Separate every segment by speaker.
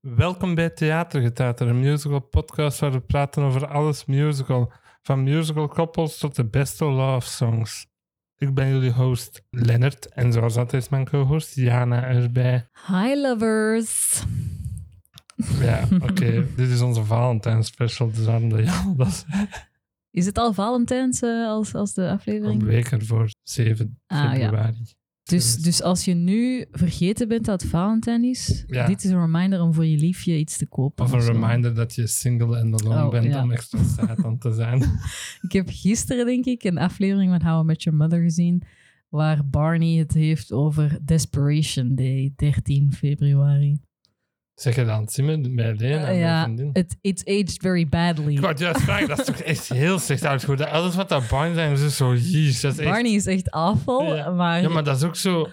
Speaker 1: Welkom bij Theatergetater, een musical podcast waar we praten over alles musical. Van musical koppels tot de beste love songs. Ik ben jullie host Lennart en zoals altijd is mijn co-host Jana erbij.
Speaker 2: Hi lovers.
Speaker 1: Ja, oké, dit is onze Valentijns special, dus waarom dat Jana dat zei?
Speaker 2: Is het al Valentijns eh, als, als de
Speaker 1: Een
Speaker 2: aflevering?
Speaker 1: week ervoor, 7
Speaker 2: Ah ja.
Speaker 1: februari.
Speaker 2: Dus, dus als je nu vergeten bent dat het Valentijn is,
Speaker 1: Ja.
Speaker 2: dit is een reminder om voor je liefje iets te kopen.
Speaker 1: Of een
Speaker 2: zo.
Speaker 1: reminder dat je single en alone
Speaker 2: dus- Oh,
Speaker 1: bent
Speaker 2: ja.
Speaker 1: om extra Satan te zijn.
Speaker 2: Ik heb gisteren, denk ik, een aflevering van How I Met Your Mother gezien, waar Barney het heeft over Desperation Day, 13 februari.
Speaker 1: Zeg je dan, Simon, bij Lena?
Speaker 2: Eh,
Speaker 1: mijn
Speaker 2: ja,
Speaker 1: vriendin?
Speaker 2: it, it's aged very badly.
Speaker 1: Ik wou het juist vragen, dat is toch echt heel slecht uitgevoerd. Alles wat daar Barney zijn, is dus zo, jeez, dat is echt...
Speaker 2: Barney is echt afval,
Speaker 1: Ja.
Speaker 2: maar...
Speaker 1: Ja, maar dat is ook zo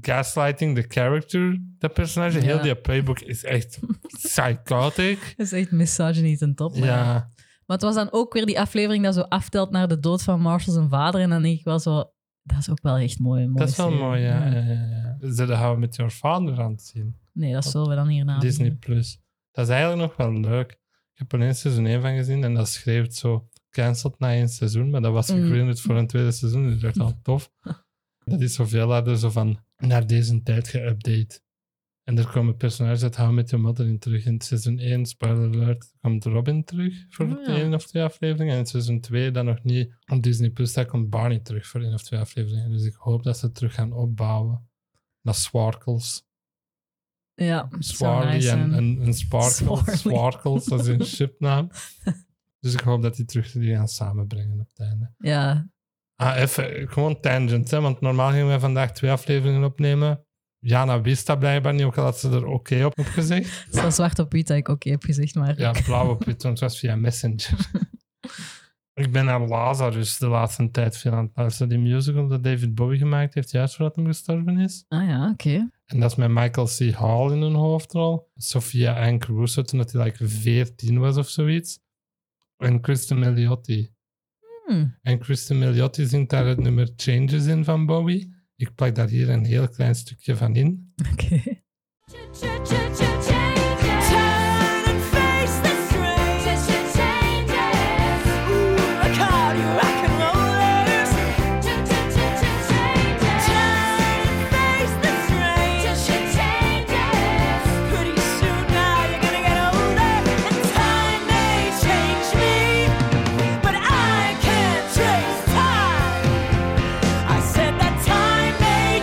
Speaker 1: gaslighting the character, dat personage. Heel
Speaker 2: Ja.
Speaker 1: die playbook is echt psychotic.
Speaker 2: dat is echt misogyny ten top. maar-
Speaker 1: Ja,
Speaker 2: Maar het was dan ook weer die aflevering dat zo aftelt naar de dood van Marshall zijn vader. En dan denk ik wel zo, dat is ook wel echt mooi. een mooie
Speaker 1: dat is wel
Speaker 2: serie.
Speaker 1: mooi, ja. ja, ja, ja. Dus dat houden we met your father aan het zien.
Speaker 2: Nee, dat zullen we dan hierna
Speaker 1: Disney
Speaker 2: doen.
Speaker 1: Plus. Dat is eigenlijk nog wel leuk. Ik heb er één seizoen 1 van gezien en dat schreef het zo cancelled na één seizoen, maar dat was
Speaker 2: Mm.
Speaker 1: gegrinderd voor een tweede seizoen, dus dat is al tof. Dat is zoveel harder zo van naar deze tijd geüpdate. En er komen personages uit How I Met Your Mother in terug. In seizoen 1, spoiler alert, komt Robin terug voor
Speaker 2: Oh, ja.
Speaker 1: één of twee afleveringen. En in seizoen 2 dan nog niet. Op Disney Plus daar komt Barney terug voor één of twee afleveringen. Dus ik hoop dat ze het terug gaan opbouwen. Naar Swarkles.
Speaker 2: Ja, het zou
Speaker 1: Swarly
Speaker 2: nice
Speaker 1: en,
Speaker 2: zijn.
Speaker 1: en, en Sparkles.
Speaker 2: Swarly.
Speaker 1: Swarkles, dat is een shipnaam. dus ik hoop dat die terug die gaan samenbrengen op het einde.
Speaker 2: Ja,
Speaker 1: Ah, even, gewoon tangent, hè, want normaal gingen wij vandaag twee afleveringen opnemen. Jana wist dat blijkbaar niet, ook al had ze er oké op op gezegd.
Speaker 2: het is wel zwart op wit dat ik oké heb gezegd, maar...
Speaker 1: Ja, blauw op wit, want het was via Messenger. ik ben naar Lazarus de laatste tijd veel aan het luisteren. Die musical dat David Bowie gemaakt heeft, juist voordat hij gestorven is.
Speaker 2: Ah ja, oké.
Speaker 1: En dat is met Michael C. Hall in een hoofdrol. Sophia Ann Caruso toen dat hij like 14 was of zoiets. En Kristen Melliotti.
Speaker 2: Hmm.
Speaker 1: En Kristen Melliotti zingt daar het nummer Changes in van Bowie. Ik plak daar hier een heel klein stukje van in.
Speaker 2: Oké.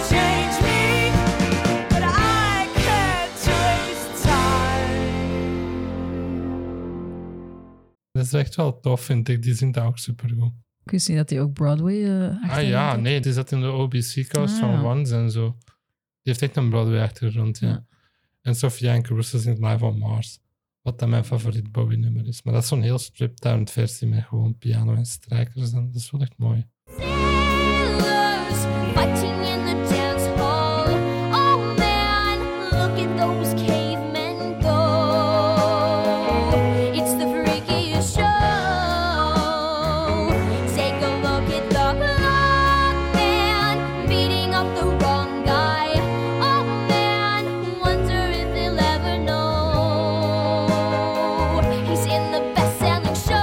Speaker 3: Change me. But I can't trace time.
Speaker 1: Dat is echt wel tof, vind ik. Die zingt dat ook supergoed.
Speaker 2: Ik wist niet dat hij ook Broadway eh
Speaker 1: Ah
Speaker 2: achtergrond
Speaker 1: ja,
Speaker 2: had.
Speaker 1: nee, die zat in de OBC-cast
Speaker 2: Ah,
Speaker 1: van
Speaker 2: ja.
Speaker 1: Ones en zo. Die heeft echt een Broadway-achtergrond, ja.
Speaker 2: Ja.
Speaker 1: En Sophia en Caruso zingt Live on Mars, wat dan mijn favoriet Bowie-nummer is. Maar dat is zo'n heel stripped-down versie met gewoon piano en strijkers. En dat is wel echt mooi.
Speaker 4: Sailors fighting in the dance hall. Oh man, look at those cavemen go. It's the freakiest show. Take a look at the black man beating up the wrong guy. Oh man, wonder if he'll ever know. He's in the best selling show.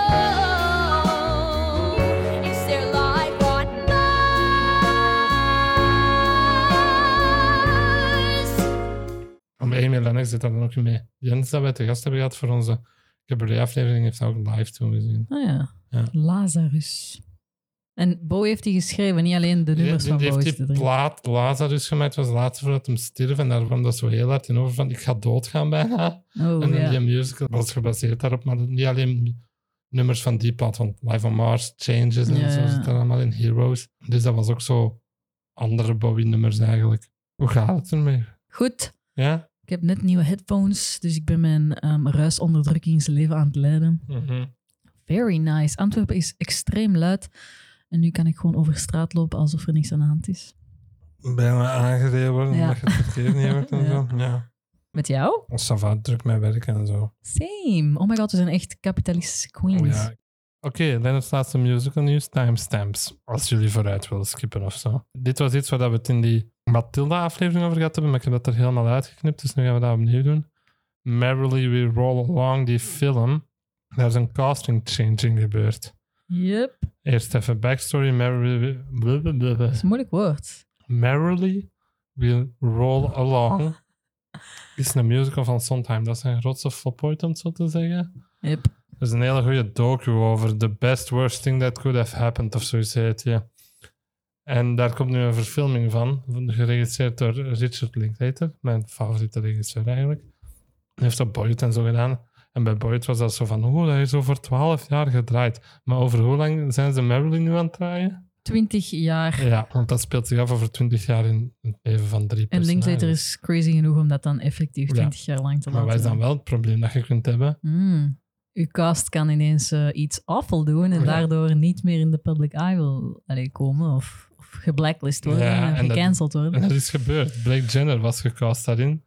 Speaker 4: It's their live on Mars.
Speaker 1: Om Amy Lennox zit daar dan ook mee. Jens, dat wij te gast hebben gehad voor onze cabaret-aflevering, heeft dat ook live toen gezien.
Speaker 2: Ah ja.
Speaker 1: Ja.
Speaker 2: Lazarus. En Bowie heeft die geschreven, niet alleen de nummers
Speaker 1: die
Speaker 2: van
Speaker 1: die
Speaker 2: Bowie.
Speaker 1: heeft
Speaker 2: zitten
Speaker 1: die
Speaker 2: erin.
Speaker 1: plaat Lazarus gemaakt, was laatst voordat hem stierf. En daar kwam dat zo heel hard in over van, ik ga doodgaan bijna.
Speaker 2: Oh
Speaker 1: En dan
Speaker 2: ja.
Speaker 1: die musical was gebaseerd daarop, maar niet alleen nummers van die plaat, want Live on Mars, Changes en
Speaker 2: Ja,
Speaker 1: zo
Speaker 2: ja.
Speaker 1: zit er allemaal in Heroes. Dus dat was ook zo andere Bowie-nummers eigenlijk. Hoe gaat het ermee?
Speaker 2: Goed.
Speaker 1: Ja?
Speaker 2: Ik heb net nieuwe headphones, dus ik ben mijn ehm ruisonderdrukkingsleven aan het leiden. Very nice. Antwerpen is extreem luid. En nu kan ik gewoon over straat lopen alsof er niks aan de hand is.
Speaker 1: Bijna aangereden worden,
Speaker 2: Ja.
Speaker 1: omdat je het verkeer niet wordt en
Speaker 2: Ja.
Speaker 1: zo. Ja.
Speaker 2: Met jou?
Speaker 1: Ons savat druk met werken en zo.
Speaker 2: Same. Oh my god, we zijn echt kapitalistische
Speaker 1: Oh,
Speaker 2: queens.
Speaker 1: ja. Oké, Lennart's laatste musical nieuws, timestamps. Als jullie vooruit willen skippen of zo. Dit was iets waar dat we het in die Matilda-aflevering over gehad hebben, maar ik heb dat er helemaal uitgeknipt, dus nu gaan we dat opnieuw doen. Merrily We Roll Along, die film, daar is een casting change in gebeurd.
Speaker 2: Yep.
Speaker 1: Eerst even backstory. Merrily We, blablabla.
Speaker 2: Dat is een moeilijk woord.
Speaker 1: Merrily We Roll Along is een musical van Sondheim. Dat is een grootste flop ooit, om het zo te zeggen.
Speaker 2: Yep.
Speaker 1: Er is een hele goede docu over The Best Worst Thing That Could Have Happened, of zoiets heet je. En daar komt nu een verfilming van, geregisseerd door Richard Linklater, mijn favoriete regisseur eigenlijk. Hij heeft dat Boyd en zo gedaan. En bij Boyd was dat zo van, oeh, dat is over twaalf jaar gedraaid. Maar over hoe lang zijn ze Merrily nu aan het draaien?
Speaker 2: Twintig jaar.
Speaker 1: Ja, want dat speelt zich af over twintig jaar in het leven van drie
Speaker 2: En
Speaker 1: personages.
Speaker 2: Linklater is crazy genoeg om dat dan effectief
Speaker 1: Ja.
Speaker 2: 20 jaar lang te
Speaker 1: Maar
Speaker 2: laten
Speaker 1: wat is dan
Speaker 2: doen.
Speaker 1: wel het probleem dat je kunt hebben?
Speaker 2: Hmm. Uw cast kan ineens eh, iets awful doen en
Speaker 1: Oh Ja.
Speaker 2: daardoor niet meer in de public eye wil allee, komen of, of geblacklist worden
Speaker 1: Ja,
Speaker 2: en,
Speaker 1: en dat-
Speaker 2: gecanceld worden.
Speaker 1: En dat is gebeurd. Blake Jenner was gecast daarin.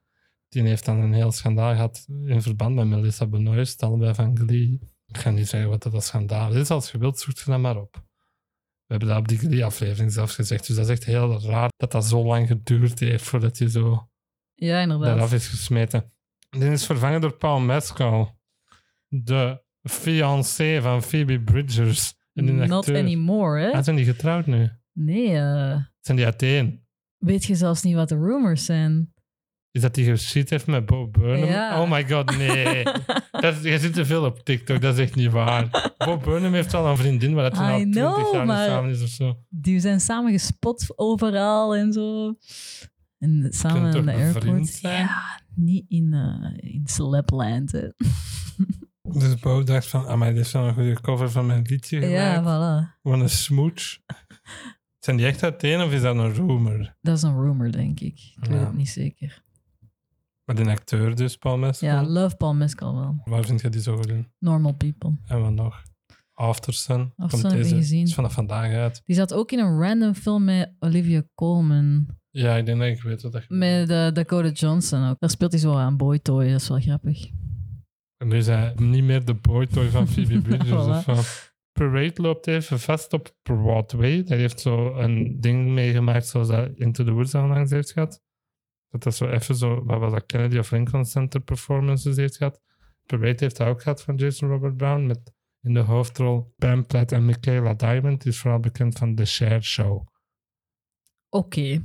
Speaker 1: Die heeft dan een heel schandaal gehad in verband met Melissa Benoist, dan bij Van Glee. Ik ga niet zeggen wat dat als schandaal is. Als je wilt, zoek je dat maar op. We hebben dat op die Glee-aflevering zelfs gezegd. Dus dat is echt heel raar dat dat zo lang geduurd heeft voordat je zo
Speaker 2: ja, inderdaad.
Speaker 1: eraf is gesmeten. Die is vervangen door Paul Mescal. De fiancé van Phoebe Bridgers. En een
Speaker 2: Not
Speaker 1: acteur.
Speaker 2: anymore, hè?
Speaker 1: Ah, zijn die getrouwd nu?
Speaker 2: Nee, eh,
Speaker 1: Zijn die uiteen?
Speaker 2: weet je zelfs niet wat de rumors zijn.
Speaker 1: Is dat die geschiet heeft met Bo Burnham?
Speaker 2: Ja.
Speaker 1: Oh my god, nee. dat, je zit te veel op TikTok, dat is echt niet waar. Bo Burnham heeft al een vriendin waar dat hij al
Speaker 2: I
Speaker 1: 20
Speaker 2: know,
Speaker 1: jaar niet
Speaker 2: maar-
Speaker 1: samen is of zo.
Speaker 2: Die zijn samen gespot overal en zo. En samen
Speaker 1: toch
Speaker 2: in de
Speaker 1: een
Speaker 2: airport.
Speaker 1: vriend zijn?
Speaker 2: Ja, niet in, eh in Slapland. hè.
Speaker 1: Dus Bo dacht van, ah, maar dit is wel een goede cover van mijn liedje
Speaker 2: ja,
Speaker 1: gemaakt.
Speaker 2: voilà.
Speaker 1: Wat een smooch. Zijn die echt uiteen of is dat een rumor?
Speaker 2: Dat is een rumor, denk ik. Ik weet
Speaker 1: Ja.
Speaker 2: het niet zeker.
Speaker 1: Maar een acteur dus, Paul Mescal.
Speaker 2: Ja, Love Paul Mescal wel.
Speaker 1: Waar vind je die zo goed in?
Speaker 2: Normal People.
Speaker 1: En wat nog? Aftersun.
Speaker 2: After
Speaker 1: Komt
Speaker 2: Sun heb ik
Speaker 1: deze,
Speaker 2: gezien.
Speaker 1: is vanaf vandaag uit.
Speaker 2: Die zat ook in een random film met Olivia Colman.
Speaker 1: Ja, ik denk dat ik weet wat dat je
Speaker 2: Met eh, Dakota Johnson ook. Daar speelt hij zo aan Boy Toy. Dat is wel grappig.
Speaker 1: En nu is hij niet meer de boytoy van Phoebe Bridgers.
Speaker 2: Voilà.
Speaker 1: of zo. Parade loopt even vast op Broadway. Daar heeft zo een ding meegemaakt zoals dat Into the Woods onlangs heeft gehad. Dat dat zo even zo, wat was dat, Kennedy of Lincoln Center performances heeft gehad. Parade heeft dat ook gehad van Jason Robert Brown met in de hoofdrol Pam Platt en Michaela Diamond. Die is vooral bekend van The Share Show.
Speaker 2: Oké.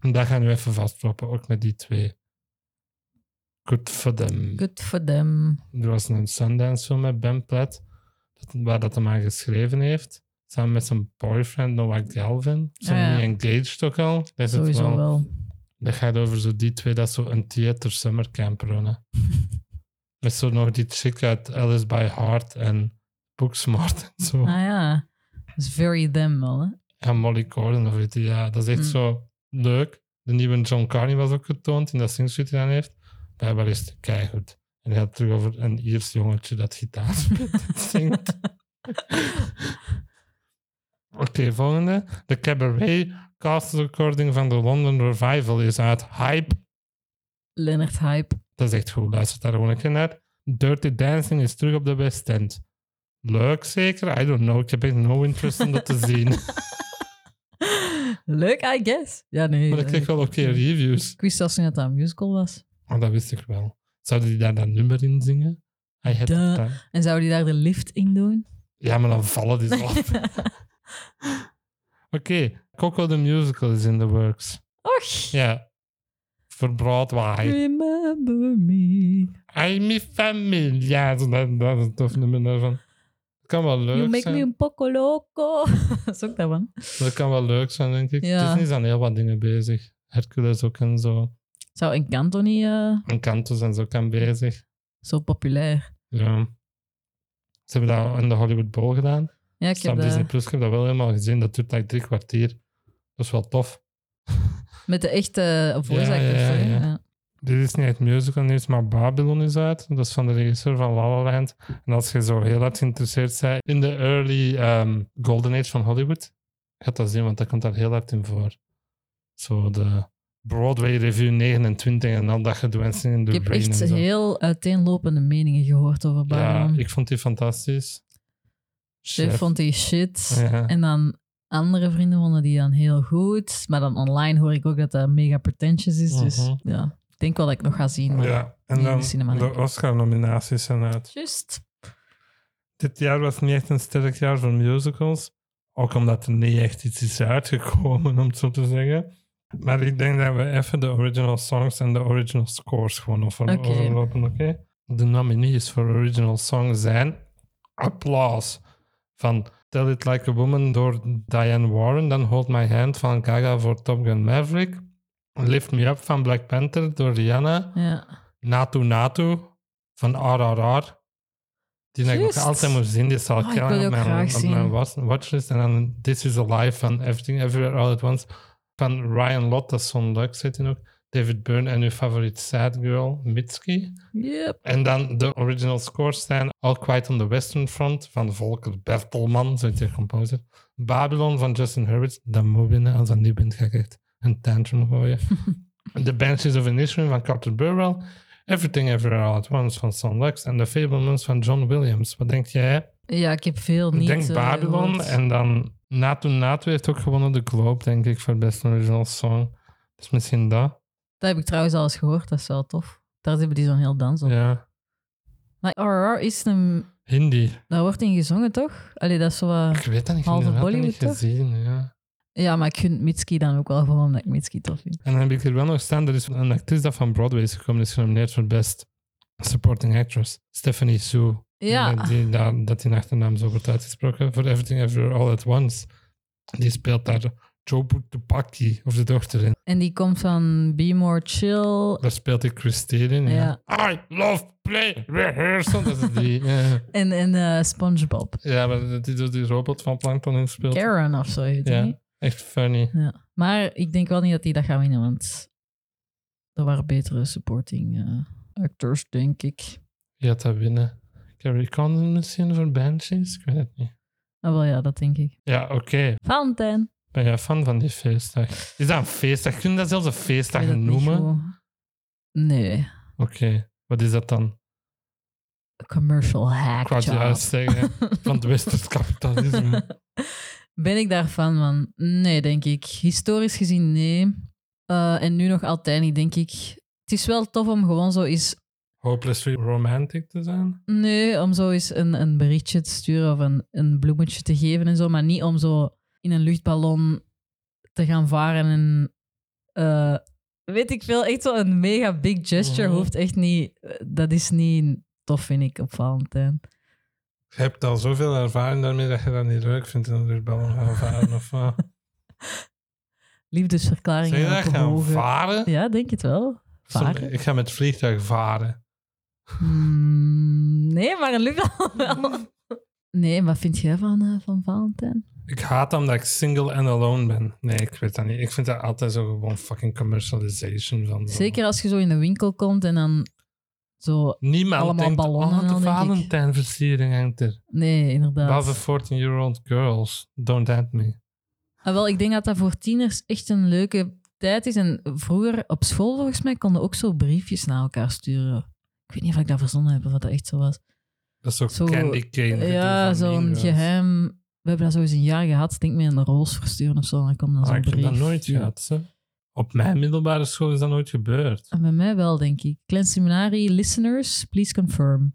Speaker 1: En daar gaan we even vastlopen, ook met die twee. Good for them.
Speaker 2: Good for them.
Speaker 1: Er was een Sundance film met Ben Platt, dat, waar dat hem aan geschreven heeft. Samen met zijn boyfriend Noah Galvin. Zijn
Speaker 2: Ah, ja.
Speaker 1: die engaged ook al? Dat is het
Speaker 2: Sowieso
Speaker 1: wel. Oh.
Speaker 2: wel.
Speaker 1: Dat gaat over zo die twee dat zo een theater summercamp runnen. met zo nog die chick uit Alice by Heart en Booksmart en zo.
Speaker 2: Ah ja. Dat is very them wel, hè?
Speaker 1: Ja, Molly Gordon of weet je. Ja, dat is echt
Speaker 2: Mm.
Speaker 1: zo leuk. De nieuwe John Carney was ook getoond in dat singshoot die hij heeft. Blijkbaar is het keigoed. En hij had terug over een Iers jongetje dat gitaar speelt en zingt. Oké, volgende. De Cabaret cast recording van de London Revival is uit Hype.
Speaker 2: Leonard Hype.
Speaker 1: Dat is echt goed, luister daar gewoon een keer naar. Dirty Dancing is terug op de West End. Leuk zeker? I don't know. Ik heb echt no interest om dat te zien.
Speaker 2: Leuk, I guess. Ja, nee.
Speaker 1: Maar ik
Speaker 2: eh,
Speaker 1: kreeg wel oké reviews.
Speaker 2: Ik wist zelfs niet dat dat een musical was.
Speaker 1: Oh, dat wist ik wel. Zouden die daar dat nummer in zingen? Hij had
Speaker 2: Duh.
Speaker 1: dat-
Speaker 2: En zou die daar de lift in doen?
Speaker 1: Ja, maar dan vallen die zo af. Oké, Coco the Musical is in the works.
Speaker 2: Och.
Speaker 1: Ja. Voor Broadway.
Speaker 2: Remember me.
Speaker 1: I'm my family. Ja, zo dat, dat is een tof nummer daarvan. Dat kan wel leuk
Speaker 2: You make
Speaker 1: zijn.
Speaker 2: me un poco loco. dat is ook dat man.
Speaker 1: Dat kan wel leuk zijn, denk ik.
Speaker 2: Ja.
Speaker 1: Disney is aan heel wat dingen bezig. Hercules ook en zo.
Speaker 2: Zou Encanto niet eh,
Speaker 1: En Cantus en zo kan bezig.
Speaker 2: zo populair?
Speaker 1: Ja. Ze hebben dat in de Hollywood Bowl gedaan.
Speaker 2: Ja, ik
Speaker 1: Ik
Speaker 2: heb eh,
Speaker 1: op Disney
Speaker 2: dat
Speaker 1: Plus, ik heb dat wel helemaal gezien. Dat duurt like drie kwartier. Dat is wel tof.
Speaker 2: met de echte voice
Speaker 1: Ja, ja,
Speaker 2: actors, hè?
Speaker 1: ja.
Speaker 2: Ja.
Speaker 1: Dit is niet het musical nieuws, maar Babylon is uit. Dat is van de regisseur van La La Land. En als je zo heel hard geïnteresseerd bent in de early ehm, golden age van Hollywood, gaat dat zien, want dat komt daar heel hard in voor. Zo de Broadway Review 29 en al dat gedoe en Singing in
Speaker 2: Ik
Speaker 1: the
Speaker 2: heb
Speaker 1: Rain
Speaker 2: echt
Speaker 1: en zo.
Speaker 2: heel uiteenlopende meningen gehoord over
Speaker 1: ja,
Speaker 2: Babylon.
Speaker 1: ik vond die fantastisch.
Speaker 2: Chef vond die shit.
Speaker 1: Ja.
Speaker 2: En dan andere vrienden vonden die dan heel goed. Maar dan online hoor ik ook dat dat mega pretentious is. Dus
Speaker 1: Mhm.
Speaker 2: ja, denk wel dat ik nog ga zien. Maar
Speaker 1: Ja, en
Speaker 2: niet in
Speaker 1: dan
Speaker 2: de cinema, denk
Speaker 1: de
Speaker 2: ik.
Speaker 1: Oscar-nominaties zijn uit.
Speaker 2: Just.
Speaker 1: Dit jaar was niet echt een sterk jaar voor musicals. Ook omdat er niet echt iets is uitgekomen, om het zo te zeggen. Maar ik denk dat we even de original songs en de original scores gewoon over
Speaker 2: Oké.
Speaker 1: overlopen, oké? De nominees voor original song zijn... Applaus van Tell It Like a Woman door Diane Warren. Dan Hold My Hand van Gaga voor Top Gun Maverick. Lift Me Up van Black Panther door Rihanna.
Speaker 2: Ja.
Speaker 1: Natu Natu van RRR. Die dat ik nog
Speaker 2: Juist.
Speaker 1: altijd moet zien. Die zal
Speaker 2: Oh, ik
Speaker 1: kennen
Speaker 2: wil die
Speaker 1: op
Speaker 2: ook
Speaker 1: mijn,
Speaker 2: graag
Speaker 1: op mijn
Speaker 2: zien.
Speaker 1: was- watchlist. En dan This is Alive van Everything Everywhere All at Once. Van Ryan Lott, dat is zo'n leuk zit in ook. David Byrne en uw favoriet sad girl, Mitski.
Speaker 2: Yep.
Speaker 1: En dan de original scores zijn All Quiet on the Western Front van Volker Bertelman, zo heet de composer. Babylon van Justin Herbert. Dan moet binnen, als dat niet bent, ga ik echt een tantrum gooien. The Banshees of Inisherin van Carter Burwell. Everything Everywhere All at Once van Son Lux. En The Fablemans van John Williams. Wat denk jij?
Speaker 2: Ja, ik heb veel
Speaker 1: Ik
Speaker 2: niet.
Speaker 1: denk
Speaker 2: eh,
Speaker 1: Babylon.
Speaker 2: gehoord.
Speaker 1: En dan Natu Natu heeft ook gewonnen de Globe, denk ik, voor Best Original Song. Dus misschien dat.
Speaker 2: Dat heb ik trouwens al eens gehoord, dat is wel tof. Daar hebben die zo'n heel dans op.
Speaker 1: Ja.
Speaker 2: Maar RR is een.
Speaker 1: Hindi.
Speaker 2: Daar wordt in gezongen, toch? Allee, dat is zo wat-
Speaker 1: Ik weet dat niet.
Speaker 2: Halve
Speaker 1: Ik heb dat niet
Speaker 2: Bollywood, toch?
Speaker 1: gezien. Ja.
Speaker 2: Ja, maar ik gun Mitski dan ook wel gewoon omdat ik Mitski tof vind.
Speaker 1: En dan heb ik er wel nog staan, er is een actrice dat van Broadway is gekomen, die is genomineerd voor Best Supporting Actress, Stephanie Sue.
Speaker 2: Ja,
Speaker 1: Dat die, daar- dat die achternaam zo wordt uitgesproken, voor Everything Everywhere All At Once. Die speelt daar Jobu Tupaki, of de dochter in.
Speaker 2: en die komt van Be More Chill.
Speaker 1: Daar speelt ik Christine in. Ja. I love play rehearsal. Dat is die. ja.
Speaker 2: En, en eh, SpongeBob.
Speaker 1: Ja, maar die doet die robot van Plankton in speelt.
Speaker 2: Karen of zo heet die.
Speaker 1: Ja, echt funny.
Speaker 2: Ja. Maar ik denk wel niet dat die dat gaat winnen, want er waren betere supporting eh, actors, denk ik.
Speaker 1: Je had dat winnen. Carrie Condon misschien voor Banshees? Ik weet het niet.
Speaker 2: Ah, wel ja, dat denk ik.
Speaker 1: Ja, oké.
Speaker 2: Valentijn.
Speaker 1: Ben jij fan van die feestdag? Is dat een feestdag? Kun je dat zelfs een feestdag
Speaker 2: Ik weet het niet
Speaker 1: noemen? Oké,
Speaker 2: goed. Nee,
Speaker 1: wat is dat dan?
Speaker 2: commercial
Speaker 1: Ik
Speaker 2: hack
Speaker 1: wou het
Speaker 2: job.
Speaker 1: juist zeggen. Van het westers kapitalisme.
Speaker 2: Ben ik daar fan van? Nee, denk ik. Historisch gezien, nee. Eh, en nu nog altijd niet, denk ik. Het is wel tof om gewoon zo eens...
Speaker 1: Hopelessly romantic te zijn?
Speaker 2: Nee, om zo eens een, een berichtje te sturen of een, een bloemetje te geven en zo. Maar niet om zo in een luchtballon te gaan varen en... eh, weet ik veel, echt zo een mega big gesture
Speaker 1: Mhm.
Speaker 2: hoeft echt niet... Dat is niet tof, vind ik, op Valentijn.
Speaker 1: Je hebt al zoveel ervaring daarmee dat je dat niet leuk vindt in een luchtballon gaan varen of wat?
Speaker 2: Liefdesverklaringen
Speaker 1: Zeg je dat
Speaker 2: op
Speaker 1: gaan
Speaker 2: hoge-
Speaker 1: varen?
Speaker 2: Ja, denk het wel. Varen?
Speaker 1: Ik ga met vliegtuig varen.
Speaker 2: Hmm, nee, maar een luchtballon wel. Nee, wat vind jij van, eh, van Valentijn?
Speaker 1: Ik haat dat omdat ik single and alone ben. Nee, ik weet dat niet. Ik vind dat altijd zo gewoon fucking commercialization van. zo.
Speaker 2: Zeker als je zo in de winkel komt en dan zo...
Speaker 1: Niemand
Speaker 2: allemaal
Speaker 1: denkt, oh,
Speaker 2: ballonnen
Speaker 1: de
Speaker 2: al, denk ik."
Speaker 1: Valentijnversiering hangt er.
Speaker 2: Nee, inderdaad.
Speaker 1: Behalve 14-year-old girls, don't tempt me.
Speaker 2: Ah, wel, ik denk dat dat voor tieners echt een leuke tijd is. En vroeger op school, volgens mij, konden ook zo briefjes naar elkaar sturen. Ik weet niet of ik dat verzonnen heb of dat dat echt zo was.
Speaker 1: Dat is ook
Speaker 2: Zo-
Speaker 1: candy cane.
Speaker 2: ja, zo'n geheim... We hebben dat zo eens een jaar gehad. Ik denk meer een roos versturen of zo. En dan kwam dan
Speaker 1: Ah,
Speaker 2: zo'n
Speaker 1: ik heb
Speaker 2: brief.
Speaker 1: dat nooit
Speaker 2: Ja.
Speaker 1: gehad. Ze. Op mijn middelbare school is dat nooit gebeurd.
Speaker 2: En bij mij wel, denk ik. Klein seminarie, listeners, please confirm.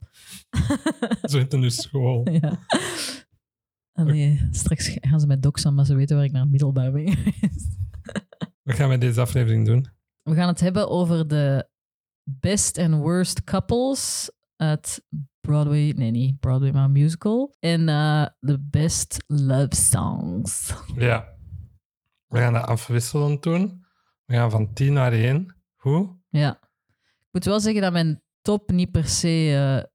Speaker 1: Zo heet het in de school.
Speaker 2: ja. Allee, straks gaan ze mij doxen, maar ze weten waar ik naar het middelbaar ben geweest.
Speaker 1: Wat gaan we deze aflevering doen?
Speaker 2: We gaan het hebben over de best and worst couples uit Broadway. Nee, niet Broadway, maar musical. En eh, de best love songs.
Speaker 1: Ja. We gaan dat afwisselend doen. We gaan van 10 naar 1. Hoe?
Speaker 2: Ja. Ik moet wel zeggen dat mijn top niet per se eh,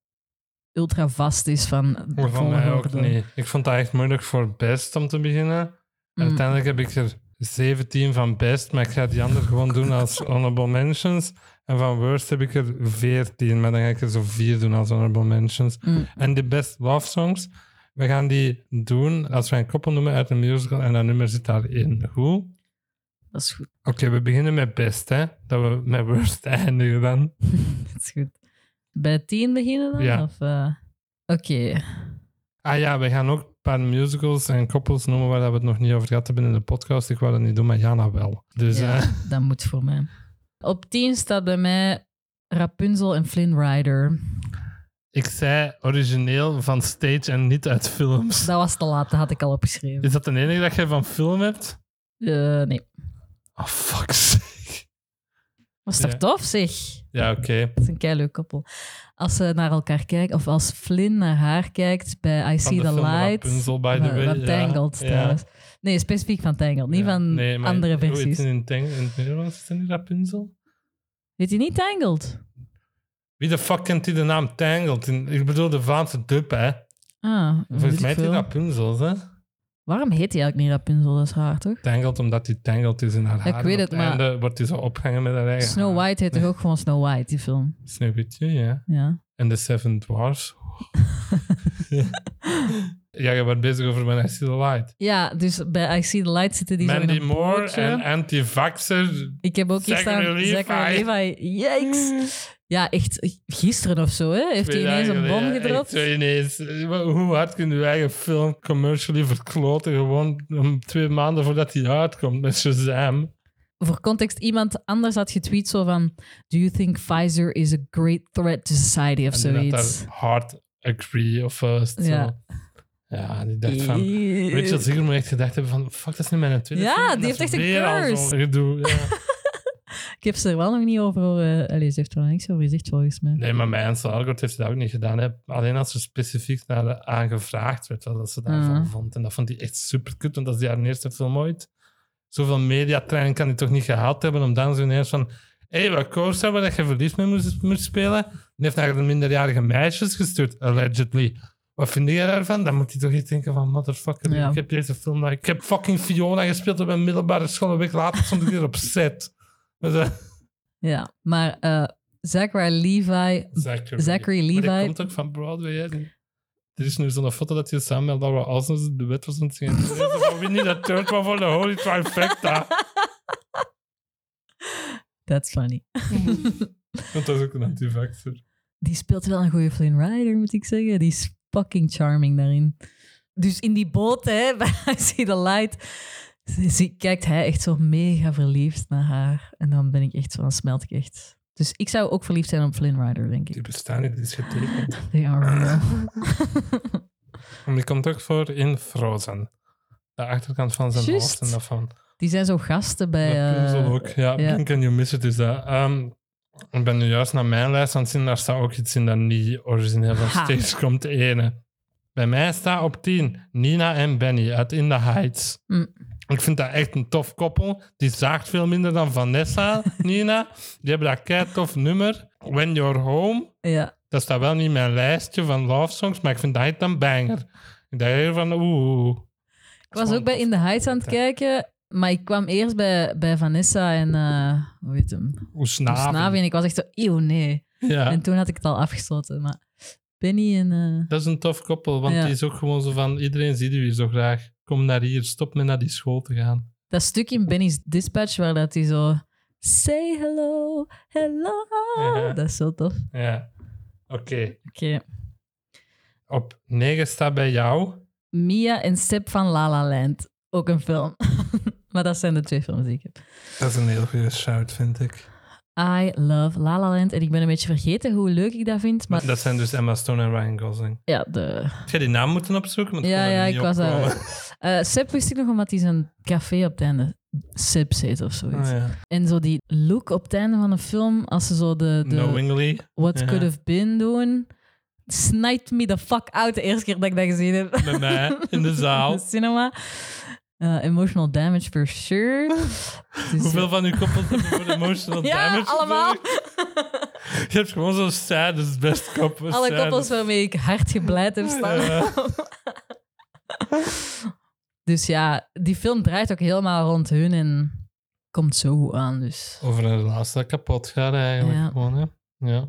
Speaker 2: ultra vast is van de
Speaker 1: Maar van mij ook
Speaker 2: volgorde.
Speaker 1: niet. Ik vond dat echt moeilijk voor best om te beginnen. En
Speaker 2: Mm.
Speaker 1: Uiteindelijk heb ik er 17 van best, maar ik ga die ander gewoon doen als honorable mentions. En van worst heb ik er 14, maar dan ga ik er zo 4 doen als honorable mentions.
Speaker 2: Mm.
Speaker 1: En de best love songs, we gaan die doen als we een koppel noemen uit een musical en dat nummer zit daarin. Hoe? Oké,
Speaker 2: Dat is goed.
Speaker 1: we beginnen met best, hè? Dat we met worst eindigen dan.
Speaker 2: Dat is goed. Bij tien beginnen dan?
Speaker 1: Ja.
Speaker 2: Of, eh, Oké.
Speaker 1: Ah ja, we gaan ook een paar musicals en koppels noemen waar dat we het nog niet over gehad hebben in de podcast. Ik wou dat niet doen, maar Jana wel. Dus
Speaker 2: Ja,
Speaker 1: eh,
Speaker 2: dat moet voor mij. Op 10 staat bij mij Rapunzel en Flynn Rider.
Speaker 1: Ik zei origineel van stage en niet uit films.
Speaker 2: Dat was te laat, dat had ik al opgeschreven.
Speaker 1: Is dat de enige dat jij van film hebt?
Speaker 2: Eh, nee.
Speaker 1: Oh, fuck sake.
Speaker 2: Was toch
Speaker 1: Ja.
Speaker 2: tof, zeg?
Speaker 1: Ja, oké.
Speaker 2: Dat is een keileuk koppel. Als ze naar elkaar kijken, of als Flynn naar haar kijkt bij
Speaker 1: Van
Speaker 2: I See
Speaker 1: de
Speaker 2: the
Speaker 1: film
Speaker 2: Light.
Speaker 1: Rapunzel, by the way.
Speaker 2: Van
Speaker 1: ja.
Speaker 2: Tangled
Speaker 1: Ja.
Speaker 2: trouwens. Nee, specifiek van Tangled, niet
Speaker 1: Ja.
Speaker 2: van
Speaker 1: Nee, maar
Speaker 2: andere
Speaker 1: hoe heet
Speaker 2: versies.
Speaker 1: het in, Tang- in het Nederlands is het niet Rapunzel?
Speaker 2: Weet je niet Tangled?
Speaker 1: Wie de fuck kent die de naam Tangled? In- ik bedoel de Vlaamse dub, hè?
Speaker 2: Ah, weet ik
Speaker 1: Volgens mij heet die
Speaker 2: veel.
Speaker 1: Rapunzel, hè?
Speaker 2: Waarom heet hij eigenlijk niet Rapunzel? Dat is raar, toch?
Speaker 1: Tangled, omdat die Tangled is in haar haar.
Speaker 2: Ik weet
Speaker 1: Op
Speaker 2: het, maar-
Speaker 1: einde wordt die zo opgehangen met haar eigen
Speaker 2: Snow
Speaker 1: haar.
Speaker 2: White heet toch ook gewoon Snow White, die film?
Speaker 1: Sneeuwwitje, ja.
Speaker 2: Ja.
Speaker 1: En de Seven Dwarfs. ja, je wordt bezig over When I See the Light.
Speaker 2: Ja, dus bij I See the Light zitten die zo in
Speaker 1: Mandy
Speaker 2: een
Speaker 1: Moore
Speaker 2: bootje.
Speaker 1: en anti-vaxxer.
Speaker 2: Ik heb ook hier
Speaker 1: Zachary
Speaker 2: staan
Speaker 1: Levi.
Speaker 2: Zachary Levi. Yikes. Ja, echt gisteren of zo, hè? Heeft hij
Speaker 1: Twee
Speaker 2: ineens
Speaker 1: dagen
Speaker 2: een bom
Speaker 1: geleden, echt
Speaker 2: gedropt?
Speaker 1: zo ineens. Hoe hard kun je je eigen film commercially verkloten? Gewoon om twee maanden voordat hij uitkomt met Shazam.
Speaker 2: Voor context, iemand anders had getweet zo van... Do you think Pfizer is a great threat to society of
Speaker 1: En die had
Speaker 2: zoiets?
Speaker 1: daar hard agree of uh, zo.
Speaker 2: Ja.
Speaker 1: Ja, die dacht van... Rachel
Speaker 2: Eeuw.
Speaker 1: Ziegler moet echt gedacht hebben van... Fuck, dat is niet mijn tweede
Speaker 2: Ja,
Speaker 1: film.
Speaker 2: die
Speaker 1: Dat
Speaker 2: heeft
Speaker 1: is
Speaker 2: echt een
Speaker 1: weer al zo'n
Speaker 2: curse.
Speaker 1: gedoe, ja.
Speaker 2: Ik heb ze er wel nog niet over horen... Allee, ze heeft er nog niks over gezegd, volgens mij.
Speaker 1: Nee, maar mijn Algort heeft dat ook niet gedaan. Hè. Alleen als er specifiek naar eh, aangevraagd werd wat dat ze daarvan
Speaker 2: Mhm.
Speaker 1: vond. En dat vond hij echt super kut, want dat is haar eerste film ooit. Zoveel mediatraining kan hij toch niet gehaald hebben om dan zo ineens van... Hé, hey, wat koos hebben dat je verliefd mee moest, moest spelen? Die heeft naar de minderjarige meisjes gestuurd, allegedly. Wat vind jij daarvan? Dan moet hij toch echt denken van... Motherfucker,
Speaker 2: Ja.
Speaker 1: ik heb deze film... nou- Ik heb fucking Fiona gespeeld op mijn middelbare school. Een week later stond ik hier op set. Met, eh,
Speaker 2: Ja, maar eh, Zachary Levi...
Speaker 1: Zachary,
Speaker 2: Zachary
Speaker 1: Maar
Speaker 2: Levi.
Speaker 1: die komt ook van Broadway. hè. Die- Er is nu zo'n foto dat je samen met Laura Alsens de wet was aan het zingen. Die zei zo van, We need a third one for the holy trifecta.
Speaker 2: That's funny.
Speaker 1: Want dat is ook een antivaxer.
Speaker 2: Die speelt wel een goede Flynn Rider, moet ik zeggen. Die is fucking charming daarin. Dus in die boot, hè, bij I See the Light, zie- zie- kijkt hij echt zo mega verliefd naar haar. En dan ben ik echt zo, dan smelt ik echt. Dus ik zou ook verliefd zijn op Flynn Rider, denk
Speaker 1: Die
Speaker 2: ik.
Speaker 1: bestaan niet, die is getekend.
Speaker 2: They are real.
Speaker 1: En die komt ook voor in Frozen. De achterkant van zijn
Speaker 2: Juist.
Speaker 1: hoofd en dat van...
Speaker 2: Die zijn zo gasten bij...
Speaker 1: Rapunzel
Speaker 2: eh,
Speaker 1: ook. Ja,
Speaker 2: ja.
Speaker 1: Blink and You Miss It is dat. Ehm, ik ben nu juist naar mijn lijst aan het zien. Daar staat ook iets in dat niet origineel van
Speaker 2: Ha.
Speaker 1: Steeds komt de ene. Bij mij staat op 10 Nina en Benny uit In The Heights.
Speaker 2: Mm.
Speaker 1: Ik vind dat echt een tof koppel. Die zaagt veel minder dan Vanessa, Nina. Die hebben dat kei tof nummer. When You're Home.
Speaker 2: ja.
Speaker 1: Dat staat wel niet in mijn lijstje van love songs, maar ik vind dat echt een banger. Ik dacht hier van oeh.
Speaker 2: Ik was ook bij In the Heights aan het kijken, maar ik kwam eerst bij, bij Vanessa en... eh, hoe heet hem? Snavi. En ik was echt zo, eeuw, nee.
Speaker 1: Ja.
Speaker 2: En toen had ik het al afgesloten. Maar Benny en. eh,
Speaker 1: Dat is een tof koppel, want
Speaker 2: Ja.
Speaker 1: die is ook gewoon zo van... Iedereen ziet u hier zo graag. Kom naar hier, stop met naar die school te gaan.
Speaker 2: dat stuk in Benny's dispatch waar dat hij zo. Say hello, hello.
Speaker 1: Ja.
Speaker 2: Oh, Dat is zo tof.
Speaker 1: Ja. Oké.
Speaker 2: Oké.
Speaker 1: Op 9 staat bij jou...
Speaker 2: Mia en Seb van La La Land. Ook een film. maar dat zijn de twee films die ik heb.
Speaker 1: Dat is een heel goede shout, vind ik.
Speaker 2: I love La La Land. En ik ben een beetje vergeten hoe leuk ik dat vind. Maar
Speaker 1: Dat zijn dus Emma Stone en Ryan Gosling.
Speaker 2: ja, de...
Speaker 1: Heb jij die naam moeten opzoeken? Want
Speaker 2: ja,
Speaker 1: kon er
Speaker 2: ja
Speaker 1: niet
Speaker 2: ik was
Speaker 1: opkomen.
Speaker 2: daar. Eh Seb wist ik nog omdat hij zijn café op het einde Seb heet of zoiets.
Speaker 1: Oh, ja.
Speaker 2: En zo die look op het einde van een film, als ze zo de, de,
Speaker 1: Knowingly.
Speaker 2: What
Speaker 1: Ja.
Speaker 2: Could Have Been doen. Snipe me the fuck out de eerste keer dat ik dat gezien heb.
Speaker 1: Bij mij, in de
Speaker 2: In
Speaker 1: zaal.
Speaker 2: de cinema. Eh, emotional damage for sure. Dus,
Speaker 1: Hoeveel van uw koppels hebben voor emotional
Speaker 2: ja,
Speaker 1: damage?
Speaker 2: allemaal.
Speaker 1: gezorgd? Je hebt gewoon zo'n saddest best koppel.
Speaker 2: Alle koppels
Speaker 1: saddest.
Speaker 2: waarmee ik hard gebleid heb staan.
Speaker 1: Ja.
Speaker 2: Dus ja, die film draait ook helemaal rond hun en komt zo goed aan. Dus
Speaker 1: Over een relatie dat kapot gaat eigenlijk
Speaker 2: Ja.
Speaker 1: gewoon, hè. Ja.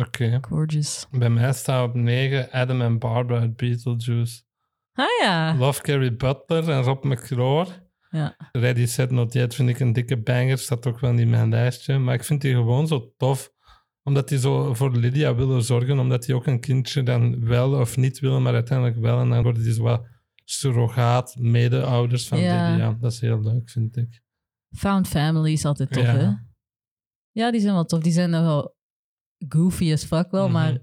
Speaker 1: Oké.
Speaker 2: gorgeous.
Speaker 1: Bij mij staat op 9 Adam en Barbara uit Beetlejuice.
Speaker 2: Ah ja.
Speaker 1: Love Carrie Butler en Rob McCroor.
Speaker 2: Ja.
Speaker 1: Ready Set Not Yet vind ik een dikke banger. Staat ook wel in mijn lijstje. Maar ik vind die gewoon zo tof. Omdat die zo voor Lydia willen zorgen. Omdat die ook een kindje dan wel of niet willen. Maar uiteindelijk wel. En dan worden die zo wat surrogaat medeouders van
Speaker 2: Ja.
Speaker 1: Lydia. Dat is heel leuk, vind ik.
Speaker 2: Found Family is altijd tof,
Speaker 1: Ja.
Speaker 2: hè? Ja, die zijn wel tof. Die zijn nogal goofy as fuck wel,
Speaker 1: Mhm.
Speaker 2: maar...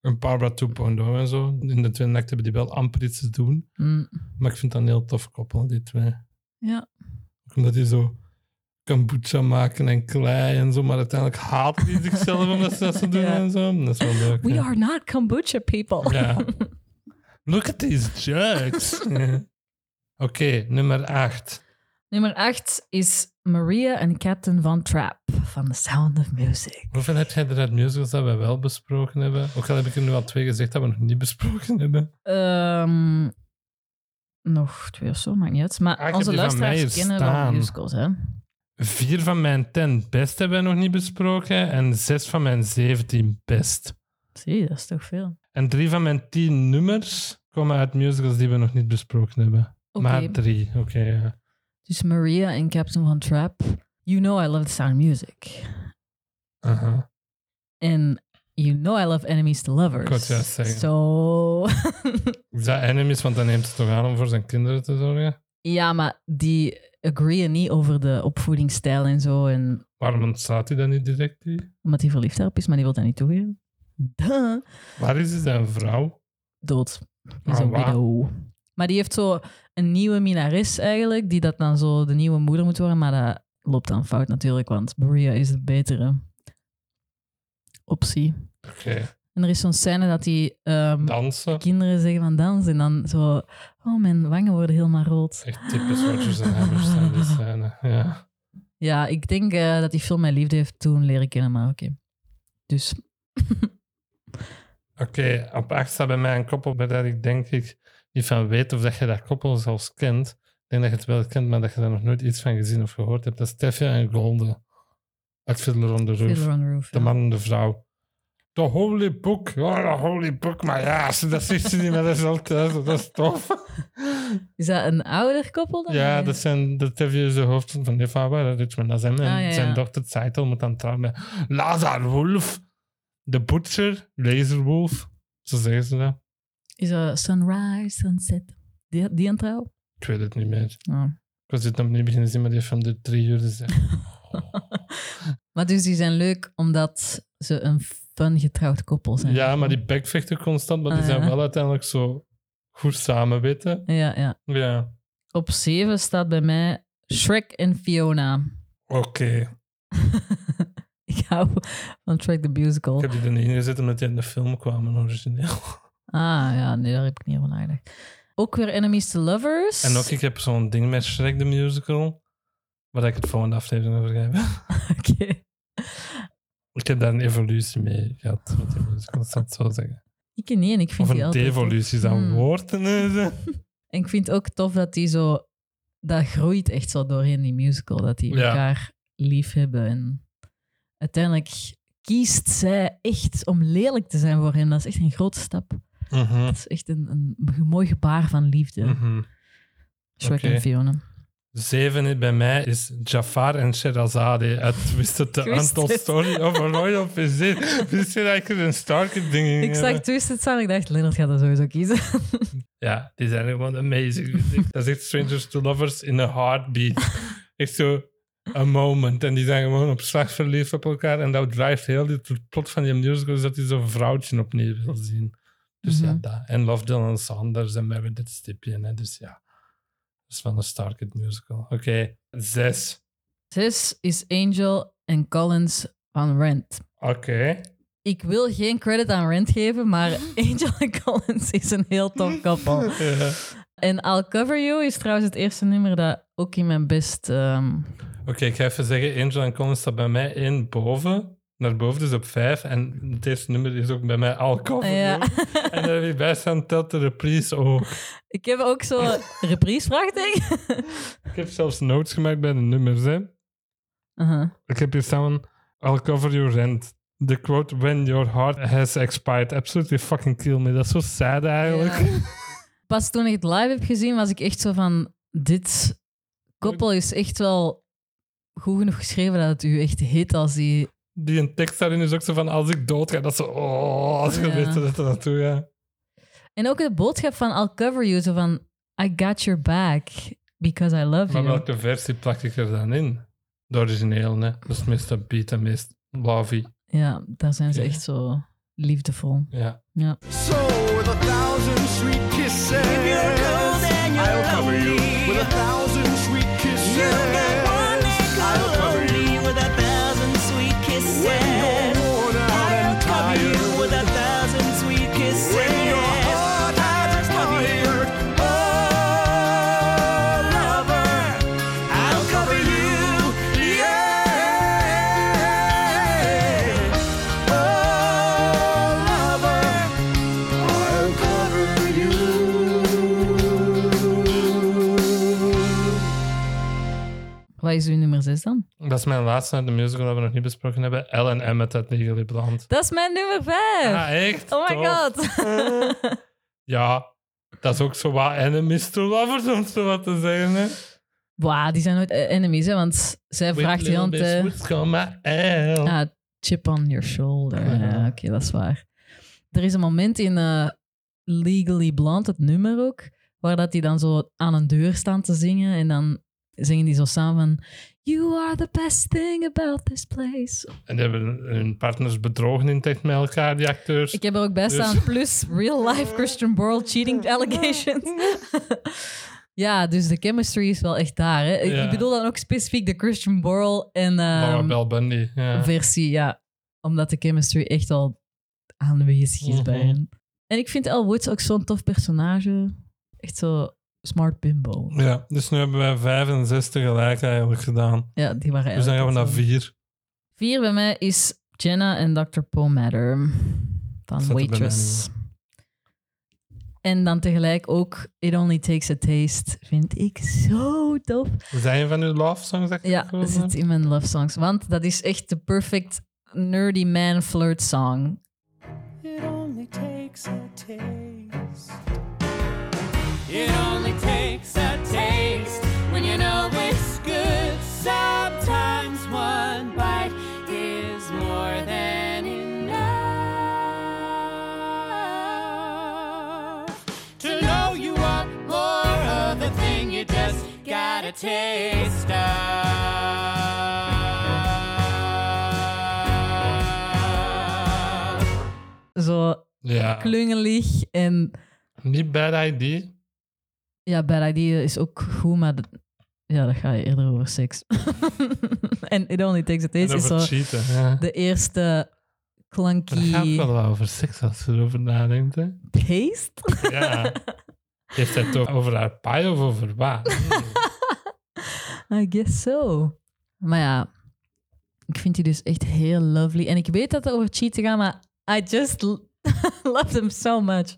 Speaker 1: Een Barbara 2.0 en zo. In de tweede act hebben die wel amper iets te doen.
Speaker 2: mm,
Speaker 1: Maar ik vind dat een heel tof koppel, die twee.
Speaker 2: ja.
Speaker 1: Ook Omdat die zo kombucha maken en klei en zo. Maar uiteindelijk haat die zichzelf omdat ze dat zo doen
Speaker 2: Ja.
Speaker 1: en zo. Dat is wel leuk.
Speaker 2: We
Speaker 1: ja.
Speaker 2: are not kombucha people.
Speaker 1: Ja. Look at these jerks. Ja. Oké, nummer 8.
Speaker 2: Nummer 8 is Maria en Captain Van Trap van The Sound of Music.
Speaker 1: Hoeveel heb jij er uit musicals dat we wel besproken hebben? Ook al heb ik er nu al twee gezegd dat we nog niet besproken hebben.
Speaker 2: Ehm, nog twee of zo, maakt niet uit. Maar
Speaker 1: Ah, ik heb
Speaker 2: onze
Speaker 1: die van mij
Speaker 2: luisteraars
Speaker 1: hier
Speaker 2: kennen wel
Speaker 1: staan.
Speaker 2: musicals, hè?
Speaker 1: Vier van mijn ten best hebben we nog niet besproken. En zes van mijn zeventien best.
Speaker 2: Zie, dat is toch veel.
Speaker 1: En drie van mijn tien nummers komen uit musicals die we nog niet besproken hebben.
Speaker 2: Oké,
Speaker 1: Maar drie, oké. ja.
Speaker 2: dus Maria en Captain Van Trap. You know I love the sound of music.
Speaker 1: Aha.
Speaker 2: En you know I love enemies to lovers.
Speaker 1: Ik wou het juist zeggen.
Speaker 2: So...
Speaker 1: Is dat enemies, want dan neemt het toch aan om voor zijn kinderen te zorgen?
Speaker 2: ja, maar die agreeën niet over de opvoedingsstijl en zo. En
Speaker 1: Waarom ontstaat hij dan niet direct? Die?
Speaker 2: Omdat hij verliefd daarop is, maar die wil dat niet toegeven. Duh.
Speaker 1: Waar is zijn vrouw?
Speaker 2: Dood. Dat is
Speaker 1: Ah,
Speaker 2: een
Speaker 1: waar?
Speaker 2: widow. Maar die heeft zo een nieuwe minares eigenlijk, die dat dan zo de nieuwe moeder moet worden. Maar dat loopt dan fout natuurlijk, want Maria is de betere optie.
Speaker 1: Oké,
Speaker 2: En er is zo'n scène dat die ehm,
Speaker 1: dansen.
Speaker 2: kinderen zeggen van dans en dan zo... Oh, mijn wangen worden helemaal rood.
Speaker 1: Echt typisch Rodgers en Hammers zijn die scène. Ja.
Speaker 2: Ja, ik denk eh, dat die film mijn liefde heeft toen leren kennen, maar oké. Dus
Speaker 1: Oké, op acht staat bij mij een koppel bij dat ik denk ik niet van weet of dat je dat koppel zelfs kent. Ik denk dat je het wel kent, maar dat je daar nog nooit iets van gezien of gehoord hebt. Dat is Teffia en Golden uit Fiddler on the Roof.
Speaker 2: Fiddler on the Roof.
Speaker 1: De
Speaker 2: ja.
Speaker 1: man en de vrouw. The Holy Book. Oh, the Holy Book. Maar ja, als ze dat ziet ze niet meer. Dat is wel thuis. Dat is tof.
Speaker 2: Is dat een ouder koppel dan?
Speaker 1: Ja,
Speaker 2: Nee.
Speaker 1: dat zijn de Teffia is de hoofd van Eva Richmond. Dat is hem. En
Speaker 2: Ah, ja, ja.
Speaker 1: zijn dochter Zeitel moet dan trouwen met Lazar Wolf. De Butcher. Laserwolf. Zo zeggen ze dat.
Speaker 2: Is dat Sunrise, Sunset? Die, die aan trouw?
Speaker 1: Ik weet het niet meer.
Speaker 2: Ah.
Speaker 1: Ik was dit nog niet beginnen zien, maar die heeft van de drie uur gezegd.
Speaker 2: Maar dus die zijn leuk omdat ze een fun getrouwd koppel zijn.
Speaker 1: ja, maar die backvechten constant, maar die
Speaker 2: Ah,
Speaker 1: zijn
Speaker 2: ja.
Speaker 1: wel uiteindelijk zo goed samen, weten.
Speaker 2: Ja, ja.
Speaker 1: Ja.
Speaker 2: Op zeven staat bij mij Shrek en Fiona.
Speaker 1: Oké.
Speaker 2: Ik hou van Shrek the Musical.
Speaker 1: Ik heb die er niet in gezet omdat die in de film kwamen origineel.
Speaker 2: Ah ja, nee, daar heb ik niet over nagedacht. Ook weer Enemies to Lovers.
Speaker 1: En ook, ik heb zo'n ding met Shrek the Musical, waar ik het volgende aflevering over ga hebben.
Speaker 2: Oké.
Speaker 1: Ik heb daar een evolutie mee gehad met die musical, dat zal ik zo zeggen.
Speaker 2: Ik ken niet en ik vind
Speaker 1: Of
Speaker 2: die
Speaker 1: een
Speaker 2: altijd...
Speaker 1: devolutie, is dat
Speaker 2: Hmm.
Speaker 1: een woord? Nee,
Speaker 2: En ik vind het ook tof dat die zo... Dat groeit echt zo doorheen die musical. Dat die
Speaker 1: Ja.
Speaker 2: elkaar lief hebben. En uiteindelijk kiest zij echt om lelijk te zijn voor hem. Dat is echt een grote stap.
Speaker 1: Mhm,
Speaker 2: Dat is echt een, een mooi gebaar van liefde.
Speaker 1: mhm.
Speaker 2: Shrek
Speaker 1: Oké.
Speaker 2: en Fiona.
Speaker 1: Zeven bij mij is Jafar en Sherazade uit Wist het
Speaker 2: Ik
Speaker 1: de
Speaker 2: wist
Speaker 1: Anton
Speaker 2: het.
Speaker 1: Story over Royal Vizier. Wist je dat ik er een starke ding in
Speaker 2: Ik zag
Speaker 1: heb?
Speaker 2: Twisted staan en ik dacht, Leonard gaat dat sowieso kiezen.
Speaker 1: Ja, die zijn gewoon amazing. dat is echt Strangers to Lovers in a heartbeat. Echt zo a moment. En die zijn gewoon op slag verliefd op elkaar. En dat drijft heel dit het plot van die musical is dat hij zo'n vrouwtje opnieuw wil zien. Dus
Speaker 2: Mhm.
Speaker 1: ja, dat. En Love Dylan Sanders en Meredith Stipien. Hè. Dus ja, dat is wel een starke musical. Oké, zes.
Speaker 2: Zes is Angel en Collins van Rent.
Speaker 1: Oké.
Speaker 2: Ik wil geen credit aan Rent geven, maar Angel en Collins is een heel tof koppel.
Speaker 1: Ja.
Speaker 2: En I'll Cover You is trouwens het eerste nummer dat ook in mijn best... ehm,
Speaker 1: Oké, ik ga even zeggen, Angel en Collins staat bij mij één boven, naar boven, dus op vijf. En deze nummer is ook bij mij al cover.
Speaker 2: Ah, ja.
Speaker 1: hoor. En daar heb ik bij staan, telt de reprise ook.
Speaker 2: ik heb ook zo'n reprise vraagteken.
Speaker 1: Ik heb zelfs notes gemaakt bij de nummers, hè.
Speaker 2: Uh-huh.
Speaker 1: Ik heb hier staan, I'll cover your rent. De quote, when your heart has expired. Absolutely fucking kill me. Dat is zo sad eigenlijk.
Speaker 2: Ja. Pas toen ik het live heb gezien, was ik echt zo van... Dit koppel is echt wel goed genoeg geschreven dat het u echt hit als die...
Speaker 1: Die een tekst daarin is ook zo van, als ik doodga, dat ze, oh, als je
Speaker 2: Ja.
Speaker 1: weet dat er naartoe gaat.
Speaker 2: En ook de boodschap van I'll Cover You, zo van... I got your back, because I love
Speaker 1: Maar
Speaker 2: you.
Speaker 1: welke versie plak ik er dan in? De origineel, hè. Dat is meestal beat en meest lovey.
Speaker 2: Ja, daar zijn ze
Speaker 1: Ja.
Speaker 2: echt zo liefdevol.
Speaker 1: Ja.
Speaker 2: Ja.
Speaker 5: So with a thousand sweet kisses,
Speaker 3: you're cold and you're
Speaker 5: I'll cover you
Speaker 3: lonely,
Speaker 5: with a thousand sweet kisses.
Speaker 3: You got one that
Speaker 5: I'll
Speaker 3: could
Speaker 5: cover
Speaker 3: only
Speaker 5: you
Speaker 3: with a thousand sweet
Speaker 5: when you're
Speaker 3: kisses.
Speaker 5: worn out
Speaker 3: I'll
Speaker 5: and
Speaker 3: cover
Speaker 5: tired.
Speaker 3: you with a thousand sweet kisses.
Speaker 5: when your heart has expired, oh lover, I'll cover you, yeah. Oh lover, I'll cover you.
Speaker 2: Wat is uw nummer 6 dan?
Speaker 1: Dat is mijn laatste uit de musical dat we nog niet besproken hebben. L&M met dat Legally Blonde.
Speaker 2: Dat is mijn nummer 5!
Speaker 1: Ah, echt?
Speaker 2: oh my
Speaker 1: Tof.
Speaker 2: god!
Speaker 1: Ja, dat is ook zo wat enemies to lovers, om zo wat te zeggen. Hè.
Speaker 2: Wauw, die zijn nooit eh, enemies, hè, want zij vraagt
Speaker 1: With
Speaker 2: eh, heel aan
Speaker 1: little bits
Speaker 2: de...
Speaker 1: would come a L.
Speaker 2: Ah, chip on your shoulder.
Speaker 1: Ah, Oh. ja.
Speaker 2: Ja, oké, dat is waar. Er is een moment in eh, Legally Blonde, het nummer ook, waar dat die dan zo aan een deur staan te zingen en dan zingen die zo samen van, You are the best thing about this place.
Speaker 1: En die hebben hun partners bedrogen in tekst met elkaar, die acteurs.
Speaker 2: Ik heb er ook bij
Speaker 1: Dus-
Speaker 2: staan, plus real life Christian Borle cheating allegations. ja, dus de chemistry is wel echt daar. Hè? Ik-
Speaker 1: Ja.
Speaker 2: Ik bedoel dan ook specifiek de Christian Borle en...
Speaker 1: Laura
Speaker 2: ehm,
Speaker 1: Bell Bundy. Ja.
Speaker 2: versie, ja. Omdat de chemistry echt al aanwezig is bij
Speaker 1: Mhm.
Speaker 2: hen. En ik vind Elle Woods ook zo'n tof personage. Echt zo smart bimbo.
Speaker 1: ja, dus nu hebben wij 65 gelijk eigenlijk gedaan.
Speaker 2: Ja, die waren
Speaker 1: Dus dan gaan we naar
Speaker 2: eigenlijk zo.
Speaker 1: 4.
Speaker 2: Vier bij mij is Jenna en Dr. Paul Matter
Speaker 1: Staat
Speaker 2: van
Speaker 1: er bij
Speaker 2: Waitress. En dan tegelijk ook It Only Takes a Taste. Vind ik zo tof.
Speaker 1: Zijn je van uw love songs? dat je
Speaker 2: Ja,
Speaker 1: gekozen
Speaker 2: dat
Speaker 1: hebt?
Speaker 2: zit in mijn love songs. Want dat is echt de perfect nerdy man flirt song.
Speaker 3: It only takes a taste. It only takes a taste when you know it's good. Sometimes one bite is more than enough to know you want more of the thing you just gotta taste of.
Speaker 2: Zo
Speaker 1: Ja.
Speaker 2: klungelig en
Speaker 1: Niet Bad ID.
Speaker 2: ja, bad idea is ook goed, maar dat- ja, dat gaat eerder over seks. en It Only Takes a
Speaker 1: En
Speaker 2: Taste is
Speaker 1: over
Speaker 2: zo
Speaker 1: cheaten. Ja.
Speaker 2: de eerste
Speaker 1: Maar dat gaat
Speaker 2: clunky
Speaker 1: wel over seks als je erover nadenkt. Hè?
Speaker 2: taste.
Speaker 1: Ja. Heeft hij het over haar paai of over wat?
Speaker 2: I guess so. Maar ja, ik vind die dus echt heel lovely. En ik weet dat het over cheaten gaat, maar I just l- love them so much.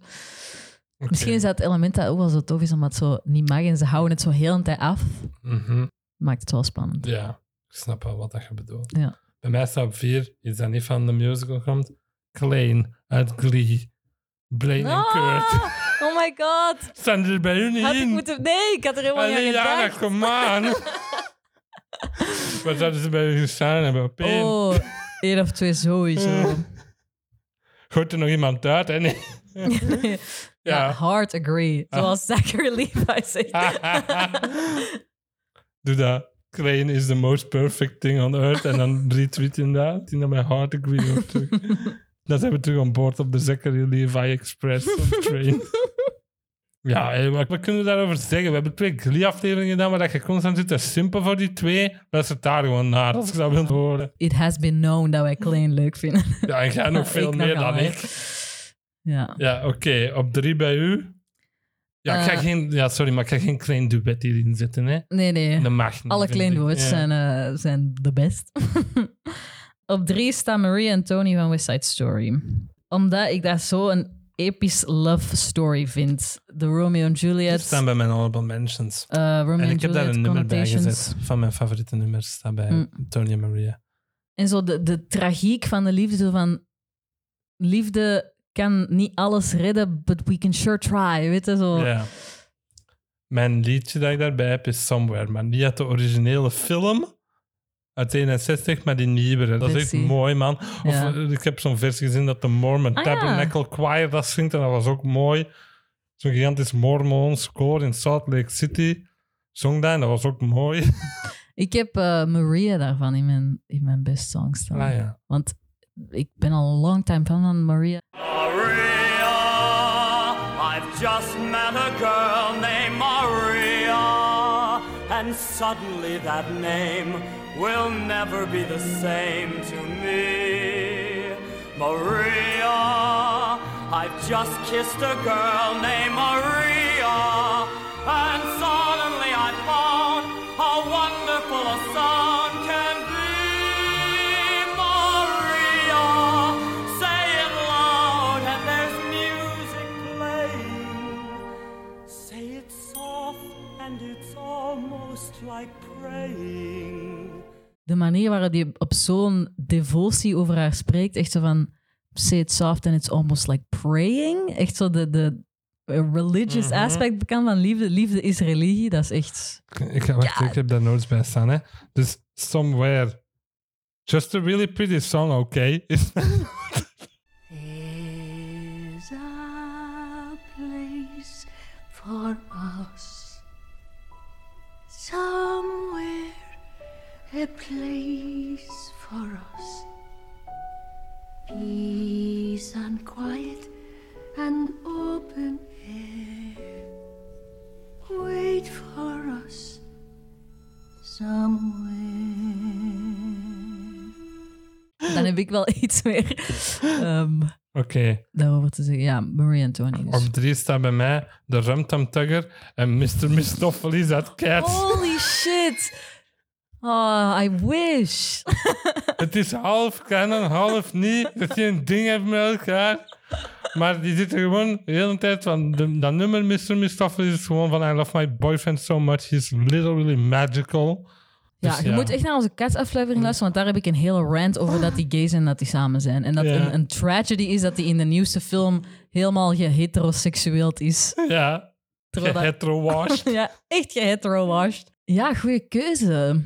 Speaker 2: Misschien is dat het element dat ook wel zo tof is, omdat het zo niet mag en ze houden het zo heel een tijd af.
Speaker 1: Mhm.
Speaker 2: Maakt het wel spannend.
Speaker 1: Ja, ik snap wel wat dat je bedoelt.
Speaker 2: Ja.
Speaker 1: Bij mij staat op vier, is dat niet van de musical komt, Klein uit Glee. Blaine en Kurt.
Speaker 2: Ah, oh my god.
Speaker 1: Staan er bij u
Speaker 2: Had
Speaker 1: niet
Speaker 2: ik
Speaker 1: in?
Speaker 2: moeten... Nee, ik had er helemaal
Speaker 1: Allee,
Speaker 2: niet aan
Speaker 1: ja,
Speaker 2: gedacht.
Speaker 1: kom aan. Wat zouden ze bij u gestaan hebben? Op één.
Speaker 2: Oh, één of twee sowieso.
Speaker 1: Gooit er nog iemand uit, hè? Nee.
Speaker 2: ja.
Speaker 1: Ja. Ah.
Speaker 2: hard agree. Zoals Zachary Levi zegt.
Speaker 1: Doe dat. Klein is the most perfect thing on earth. En dan retweet je dat. Die naar mijn hard agree ook terug. Dan zijn we terug aan boord op de Zachary Levi Express of train. Ja, hé, maar wat kunnen we daarover zeggen? We hebben twee Glee-afleveringen gedaan, maar dat je constant zit te simpel voor die twee. Luister daar gewoon naar, als ik dat wil horen.
Speaker 2: It has been known dat wij Klein leuk vinden.
Speaker 1: Ja, en jij nog veel
Speaker 2: Ik
Speaker 1: meer dan
Speaker 2: nogal, hè.
Speaker 1: ik.
Speaker 2: Ja.
Speaker 1: Ja, oké. Op drie bij u. Ja, ik ga
Speaker 2: Eh.
Speaker 1: geen, ja, sorry, maar ik ga geen klein duet hierin zetten, hè.
Speaker 2: Nee, nee.
Speaker 1: Dat mag niet,
Speaker 2: Alle
Speaker 1: vind
Speaker 2: Klein
Speaker 1: ik.
Speaker 2: duets
Speaker 1: Ja.
Speaker 2: zijn, eh, zijn de best. Op drie staan Marie en Tony van West Side Story. Omdat ik daar zo'n episch love story vind. De Romeo en
Speaker 1: Die
Speaker 2: Juliet.
Speaker 1: staan bij mijn honorable mentions.
Speaker 2: eh, Romeo
Speaker 1: en
Speaker 2: en
Speaker 1: ik heb daar
Speaker 2: Juliet
Speaker 1: een nummer bij
Speaker 2: connotations.
Speaker 1: gezet. Van mijn favoriete nummers staat bij
Speaker 2: Mm.
Speaker 1: Tony en Maria.
Speaker 2: En zo de, de tragiek van de liefde, zo van... Liefde kan niet alles redden, but we can sure try, weet je, zo.
Speaker 1: Ja. Mijn liedje dat ik daarbij heb is Somewhere, maar niet uit de originele film uit 61, maar die nieuwere. Dat is echt
Speaker 2: Versie.
Speaker 1: mooi, man. Of
Speaker 2: Ja.
Speaker 1: eh, ik heb zo'n versie gezien dat de Mormon
Speaker 2: Ah, ja.
Speaker 1: Tabernacle Choir dat zingt en dat was ook mooi. Zo'n gigantisch Mormons koor in Salt Lake City zong dat en dat was ook mooi.
Speaker 2: Ik heb eh, Maria daarvan in mijn, in mijn best song staan.
Speaker 1: Ah ja.
Speaker 2: Want ik ben al een long time fan van Maria.
Speaker 5: Maria, I've just met a girl named Maria, and suddenly that name will never be the same to me. Maria, I've just kissed a girl named Maria, and suddenly I found how wonderful a song can be. Maria, say it loud, and there's music playing. Say it soft, and it's almost like praying.
Speaker 2: De manier waarop die op zo'n devotie over haar spreekt, echt zo van say it soft and it's almost like praying. Echt zo de, de religious
Speaker 1: Mhm.
Speaker 2: aspect bekend van liefde. Liefde is religie, dat is echt...
Speaker 1: Ik, ga- wacht, ik heb daar notes bij staan. Hè. Dus Somewhere. Just a really pretty song, okay. Is-
Speaker 6: There's a place for us somewhere, a place for us. Peace and quiet and open air. Wait for us somewhere.
Speaker 2: Dan heb ik wel iets meer ehm,
Speaker 1: Oké.
Speaker 2: daarover te zeggen. Ja, Maria Antoinette.
Speaker 1: Op
Speaker 2: Dus.
Speaker 1: drie staat bij mij de Rumtum Tugger en Mr. Mistoffelis uit Cats.
Speaker 2: Holy shit! Oh, I wish.
Speaker 1: Het is half canon, half niet. Dat je een ding hebt met elkaar. Maar die zitten gewoon de hele tijd van... de- dat nummer Mr. Mistoffelis is gewoon van... I love my boyfriend so much. He's literally magical.
Speaker 2: Ja,
Speaker 1: Dus
Speaker 2: je moet echt naar onze Cats-aflevering luisteren, want daar heb ik een hele rant over dat die gay zijn en dat die samen zijn. En dat
Speaker 1: Ja.
Speaker 2: een, een tragedy is dat die in de nieuwste film helemaal geheteroseksueeld is.
Speaker 1: Ja,
Speaker 2: Terwijl dat-
Speaker 1: gehetero-washed.
Speaker 2: ja, echt geheterowashed. Ja, goede keuze.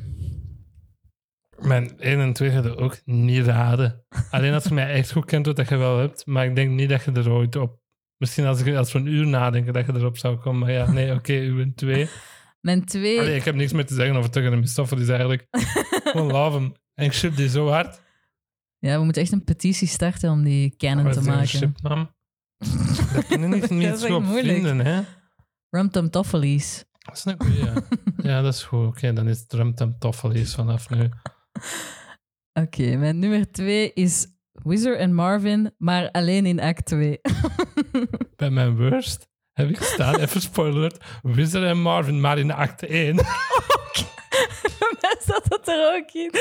Speaker 1: Mijn 1 en 2 ga je ook niet raden. Alleen als je mij echt goed kent, wat dat je wel hebt. Maar ik denk niet dat je er ooit op... Misschien als, ik, als we een uur nadenken dat je erop zou komen. Maar ja, nee, oké, uw en 2.
Speaker 2: Mijn twee...
Speaker 1: Allee, ik heb niks meer te zeggen over Tugger en Mistoffer. Die is eigenlijk... Gewoon love hem. En ik ship die zo hard.
Speaker 2: Ja, we moeten echt een petitie starten om die canon
Speaker 1: Wat
Speaker 2: te
Speaker 1: Oh, is een
Speaker 2: maken.
Speaker 1: chipnaam? Daar kunnen niet
Speaker 2: Dat
Speaker 1: niet
Speaker 2: is
Speaker 1: zo
Speaker 2: echt
Speaker 1: op
Speaker 2: moeilijk.
Speaker 1: vinden, hè?
Speaker 2: Rumtum Toffelies.
Speaker 1: Dat is een goeie, ja. ja, dat is goed. Oké, dan is het Rumtum Toffelies vanaf nu.
Speaker 2: Oké, mijn nummer twee is Wizard en Marvin, maar alleen in act 2.
Speaker 1: Bij mijn worst heb ik staan, even spoilerd, Wizard en Marvin, maar in acte 1.
Speaker 2: Bij mij staat dat er ook in.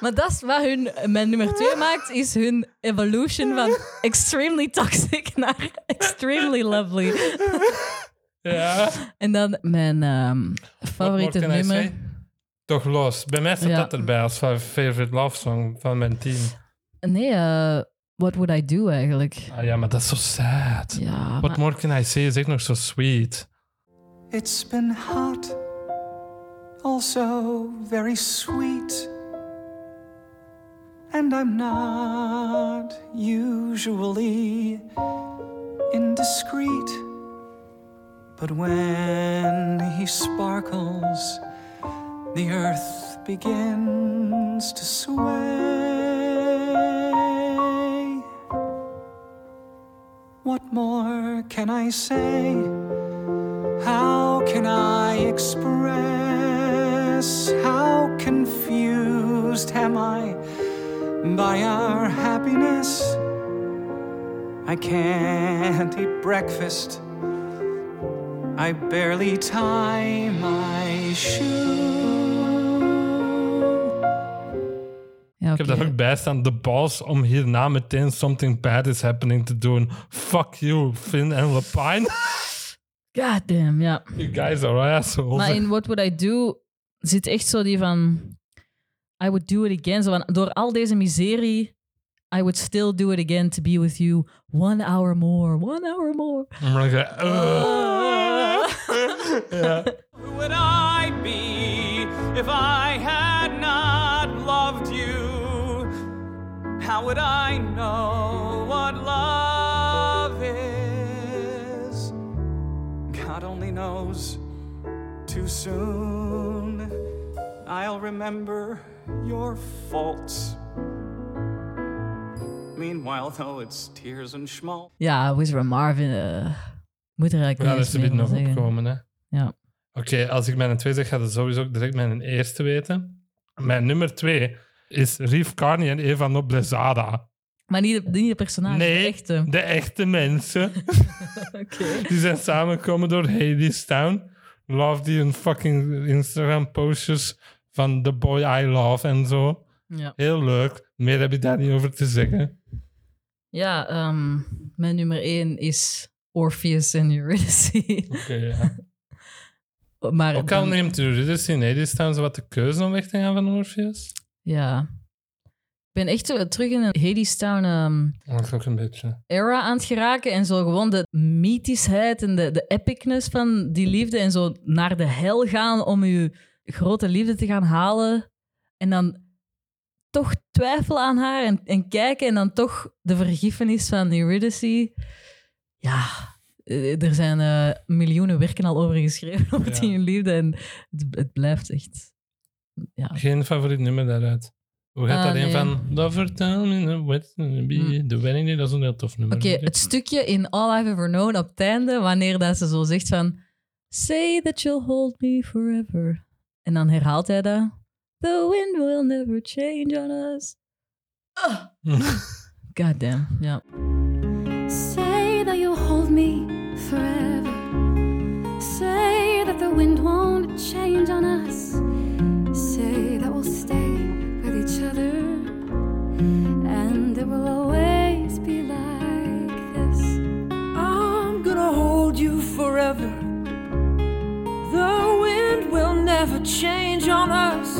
Speaker 2: Maar dat is wat hun, mijn nummer 2 maakt, is hun evolution van extremely toxic naar extremely lovely.
Speaker 1: ja.
Speaker 2: En dan mijn ehm, favoriete
Speaker 1: What more can I
Speaker 2: nummer.
Speaker 1: say? Toch los. Bij mij staat
Speaker 2: Ja.
Speaker 1: dat erbij als fa- favorite love song van mijn team.
Speaker 2: Nee, eh, What Would I Do eigenlijk?
Speaker 1: Ah ja, maar dat is zo sad.
Speaker 2: Ja,
Speaker 1: What
Speaker 2: maar,
Speaker 1: more can I say is echt nog zo sweet.
Speaker 7: It's been hot, also very sweet. And I'm not usually indiscreet. But when he sparkles, the earth begins to sway. What more can I say? How can I express? How confused am I by our happiness? I can't eat breakfast. I barely tie my shoe.
Speaker 2: ja,
Speaker 1: Ik heb
Speaker 2: oké.
Speaker 1: daar ook bij staan, de balls om hierna meteen something bad is happening te doen. Fuck you, Finn en Lapine.
Speaker 2: God damn, ja.
Speaker 1: You guys are assholes.
Speaker 2: Maar in What Would I Do zit echt zo die van... I would do it again. Zo van, door al deze miserie... I would still do it again to be with you. One hour more. One hour more.
Speaker 1: Maar dan ga je,
Speaker 2: Oh.
Speaker 1: Ah. "Ugh." ja.
Speaker 5: Who would I be if I had not loved you? How would I know what love is? God only knows
Speaker 7: too soon. I'll remember your faults. Meanwhile, though, it's tears and schmaltz.
Speaker 2: Ja, Wizard of Marvin eh, moet er eigenlijk
Speaker 1: Ja,
Speaker 2: niet
Speaker 1: dat
Speaker 2: eens
Speaker 1: is een
Speaker 2: meer
Speaker 1: beetje
Speaker 2: van
Speaker 1: nog
Speaker 2: zeggen.
Speaker 1: opkomen. Hè?
Speaker 2: Ja.
Speaker 1: Oké, als ik mijn twee zeg, gaat het sowieso ook direct mijn eerste weten. Mijn nummer twee is Reef Carney en Eva Noblezada.
Speaker 2: Maar niet de, niet de personage, Nou, de
Speaker 1: Nee,
Speaker 2: echte.
Speaker 1: de echte mensen.
Speaker 2: Oké.
Speaker 1: Die zijn samengekomen door Hades Town. Love die hun fucking Instagram postjes van The Boy I Love en zo.
Speaker 2: Ja,
Speaker 1: Heel leuk. Meer heb ik daar niet over te zeggen.
Speaker 2: ja ehm, mijn nummer één is Orpheus en Eurydice.
Speaker 1: Oké, ja.
Speaker 2: maar
Speaker 1: Ook al
Speaker 2: dan-
Speaker 1: neemt Eurydice in Hades Town zo wat de keuze om weg te gaan van Orpheus.
Speaker 2: Ja. Ik ben echt eh, terug in een Hades Town ehm,
Speaker 1: Dat is ook een beetje.
Speaker 2: era aan het geraken en zo gewoon de mythischheid en de, de epicness van die liefde en zo naar de hel gaan om je grote liefde te gaan halen en dan toch twijfelen aan haar en, en kijken en dan toch de vergiffenis van Eurydice. Ja, eh, er zijn eh, miljoenen werken al over geschreven over
Speaker 1: Ja.
Speaker 2: die liefde en het, het blijft echt... Ja,
Speaker 1: Geen favoriet nummer daaruit. Hoe gaat
Speaker 2: Ah,
Speaker 1: dat een
Speaker 2: nee. Mm.
Speaker 1: van Lover Town in the West be The Wedding Day? Dat is een heel tof nummer.
Speaker 2: Oké,
Speaker 1: vind ik.
Speaker 2: het stukje in All I've Ever Known op het einde, wanneer dat ze zo zegt van... Say that you'll hold me forever. En dan herhaalt hij dat. The wind will never change on us. Ah! God damn, ja.
Speaker 6: Say that you'll hold me forever. Say that the wind won't change on us. Say that we'll stay with each other. And it will always be like this.
Speaker 8: I'm gonna hold you forever. The wind will never change on us.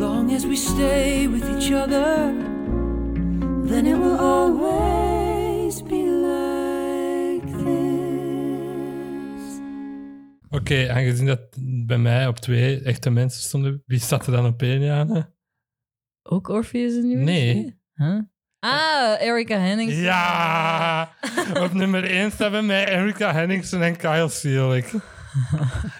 Speaker 8: Long as we stay with each other, then it will always be like this.
Speaker 1: Oké, aangezien dat bij mij op twee echte mensen stonden, wie zat er dan op één, Jana?
Speaker 2: Ook Orpheus en Eurydice?
Speaker 1: Nee.
Speaker 2: Huh? Ah, Erika Hennings.
Speaker 1: Ja! Op nummer 1 staan bij mij Erika Henningsen en Kyle Seelig.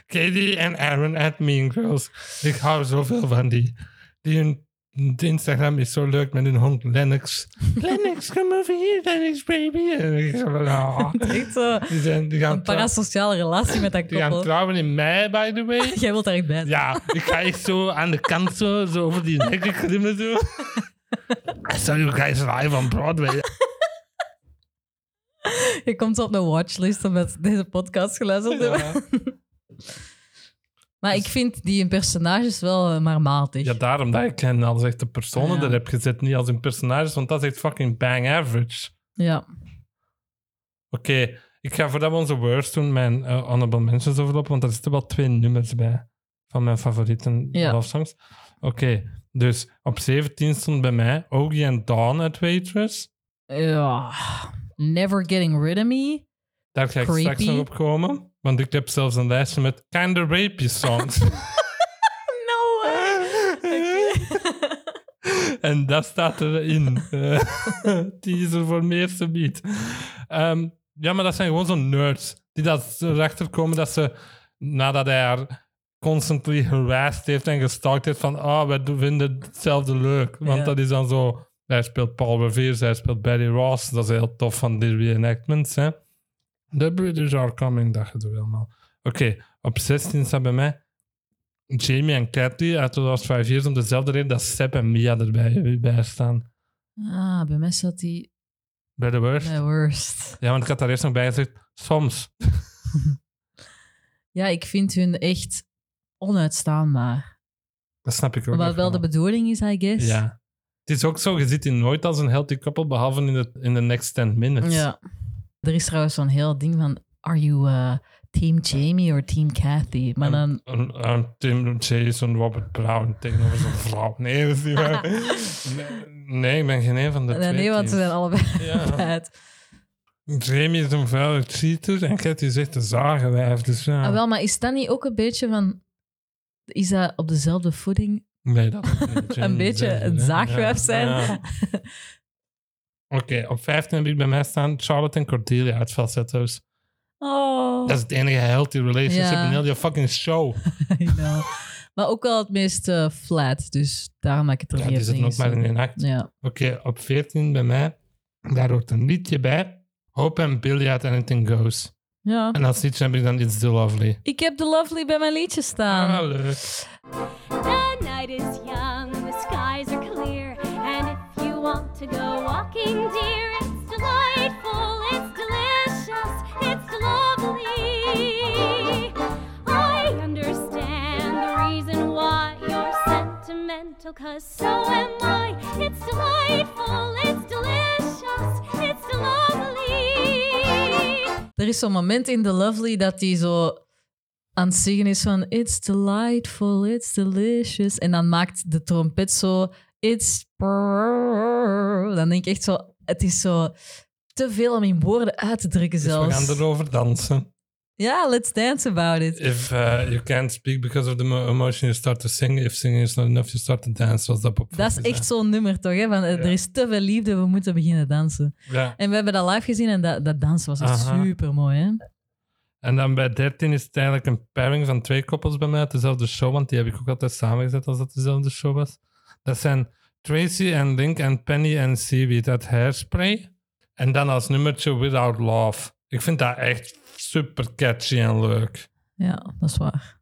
Speaker 1: Katie en Aaron at Mean Girls. Ik hou zoveel van die. Die hun hun Instagram is zo leuk met hun hond Lennox. Lennox, kom over hier, Lennox baby. En ik zo van, ah.
Speaker 2: Echt zo.
Speaker 1: Die, zijn, die, gaan
Speaker 2: Een
Speaker 1: trou-
Speaker 2: parasociale relatie met dat
Speaker 1: die gaan
Speaker 2: koppel.
Speaker 1: trouwen in mei, by the way.
Speaker 2: Jij wilt daar echt bij. zijn.
Speaker 1: Ja, ik ga echt zo aan de kant zo, zo over die hekken klimmen zo. I saw you guys live on Broadway.
Speaker 2: Je komt op de watchlist omdat deze podcast geluisterd hebben.
Speaker 1: Ja.
Speaker 2: Maar ik vind die personages wel eh, maar matig.
Speaker 1: Ja, daarom dat ik hen als echte personen
Speaker 2: Ah, ja.
Speaker 1: er heb gezet, niet als hun personages, want dat is echt fucking bang average.
Speaker 2: Ja.
Speaker 1: Oké, ik ga voordat we onze worst doen, mijn eh, honorable mentions overlopen, want er zitten wel twee nummers bij van mijn favorieten
Speaker 2: Ja.
Speaker 1: love songs. Oké, dus op 17 stond bij mij Ogie en Dawn uit Waitress.
Speaker 2: Ja. Never Getting Rid of Me.
Speaker 1: Daar ga ik straks
Speaker 2: Creepy.
Speaker 1: nog op komen, want ik heb zelfs een lijstje met kinda rapey songs.
Speaker 2: No way.
Speaker 1: En dat staat erin. Eh, Teaser voor meer subiet. Ehm ja, maar dat zijn gewoon zo'n nerds die dat erachter komen dat ze nadat hij haar constantly harassed heeft en gestalkt heeft van ah, wij doen- vinden hetzelfde leuk. Want
Speaker 2: Ja.
Speaker 1: dat is dan zo... Hij speelt Paul Revere, hij speelt Barry Ross. Dat is heel tof van die reenactments, hè. The British are coming, dat gedoe helemaal. Oké, op 16 staat bij mij Jamie en Cathy uit de Last Five Years om dezelfde reden dat Seb en Mia erbij bij staan.
Speaker 2: Ah, bij mij zat die
Speaker 1: Bij de worst.
Speaker 2: bij worst.
Speaker 1: Ja, want ik had daar eerst nog bij gezegd, soms.
Speaker 2: Ja, ik vind hun echt onuitstaanbaar.
Speaker 1: Dat snap ik ook.
Speaker 2: Wat
Speaker 1: echt
Speaker 2: wel de bedoeling is, I guess.
Speaker 1: Ja. Het is ook zo, je ziet die nooit als een healthy couple, behalve in de, in de next 10 minutes.
Speaker 2: Ja. Er is trouwens zo'n heel ding van... Are you eh, team Jamie or team Kathy? Maar dan...
Speaker 1: Een, een Tim Jason Robert Brown tegenover zo'n vrouw. Nee, dat is niet waar. Nee, nee, ik ben geen een van de
Speaker 2: Nee,
Speaker 1: twee.
Speaker 2: nee, want ze zijn
Speaker 1: teams.
Speaker 2: allebei
Speaker 1: Ja.
Speaker 2: uit.
Speaker 1: Jamie is een vuile cheater en Cathy is echt een zagenwijf. Dus ja.
Speaker 2: Ah, wel, maar is dat niet ook een beetje van... Is dat op dezelfde voeding
Speaker 1: Nee, dat is niet.
Speaker 2: een beetje
Speaker 1: Zeker,
Speaker 2: een
Speaker 1: hè?
Speaker 2: zaagwijf
Speaker 1: Ja,
Speaker 2: zijn.
Speaker 1: ja. Oké, op 15 heb ik bij mij staan Charlotte en Cordelia uit Falsetto's.
Speaker 2: Oh.
Speaker 1: Dat is het enige healthy relationship
Speaker 2: Ja.
Speaker 1: in heel die fucking show.
Speaker 2: I know. Maar ook wel het meest eh, flat, dus daarom maak ik het er
Speaker 1: Ja,
Speaker 2: niet
Speaker 1: die zit nog maar in een act.
Speaker 2: Ja.
Speaker 1: Oké, op 14 bij mij, daar hoort een liedje bij. Hope and Billy uit Anything Goes.
Speaker 2: ja.
Speaker 1: En als liedje heb ik dan It's the Lovely.
Speaker 2: Ik heb The Lovely bij mijn liedje staan.
Speaker 1: Ah, leuk.
Speaker 4: The night is young, the skies are clear, and if you want to go walking, dear, it's delightful, it's delicious, it's lovely. I understand the reason why you're sentimental, cause so am I. It's delightful, it's delicious, it's lovely.
Speaker 2: Er is zo'n moment in The Lovely dat hij zo aan het zingen is van It's delightful, it's delicious. En dan maakt de trompet zo It's... prrrr. Dan denk ik echt zo, het is zo te veel om in woorden uit te drukken
Speaker 1: Dus we gaan
Speaker 2: zelfs.
Speaker 1: erover dansen.
Speaker 2: Ja, let's dance about it.
Speaker 1: If uh, you can't speak because of the mo- emotion, you start to sing. If singing is not enough, you start to dance. Was dat op
Speaker 2: Dat is echt zo'n nummer toch, hè? Van, eh, er is te veel liefde, we moeten beginnen dansen.
Speaker 1: Ja.
Speaker 2: En we hebben dat live gezien en dat, dat dansen was echt
Speaker 1: Aha.
Speaker 2: super mooi, hè?
Speaker 1: En dan bij 13 is het eigenlijk een pairing van twee koppels bij mij uit dezelfde show, want die heb ik ook altijd samengezet als dat dezelfde show was. Dat zijn Tracy en Link en Penny en Seaweed uit Hairspray. En dan als nummertje Without Love. Ik vind dat echt super catchy en leuk.
Speaker 2: Ja, dat is waar.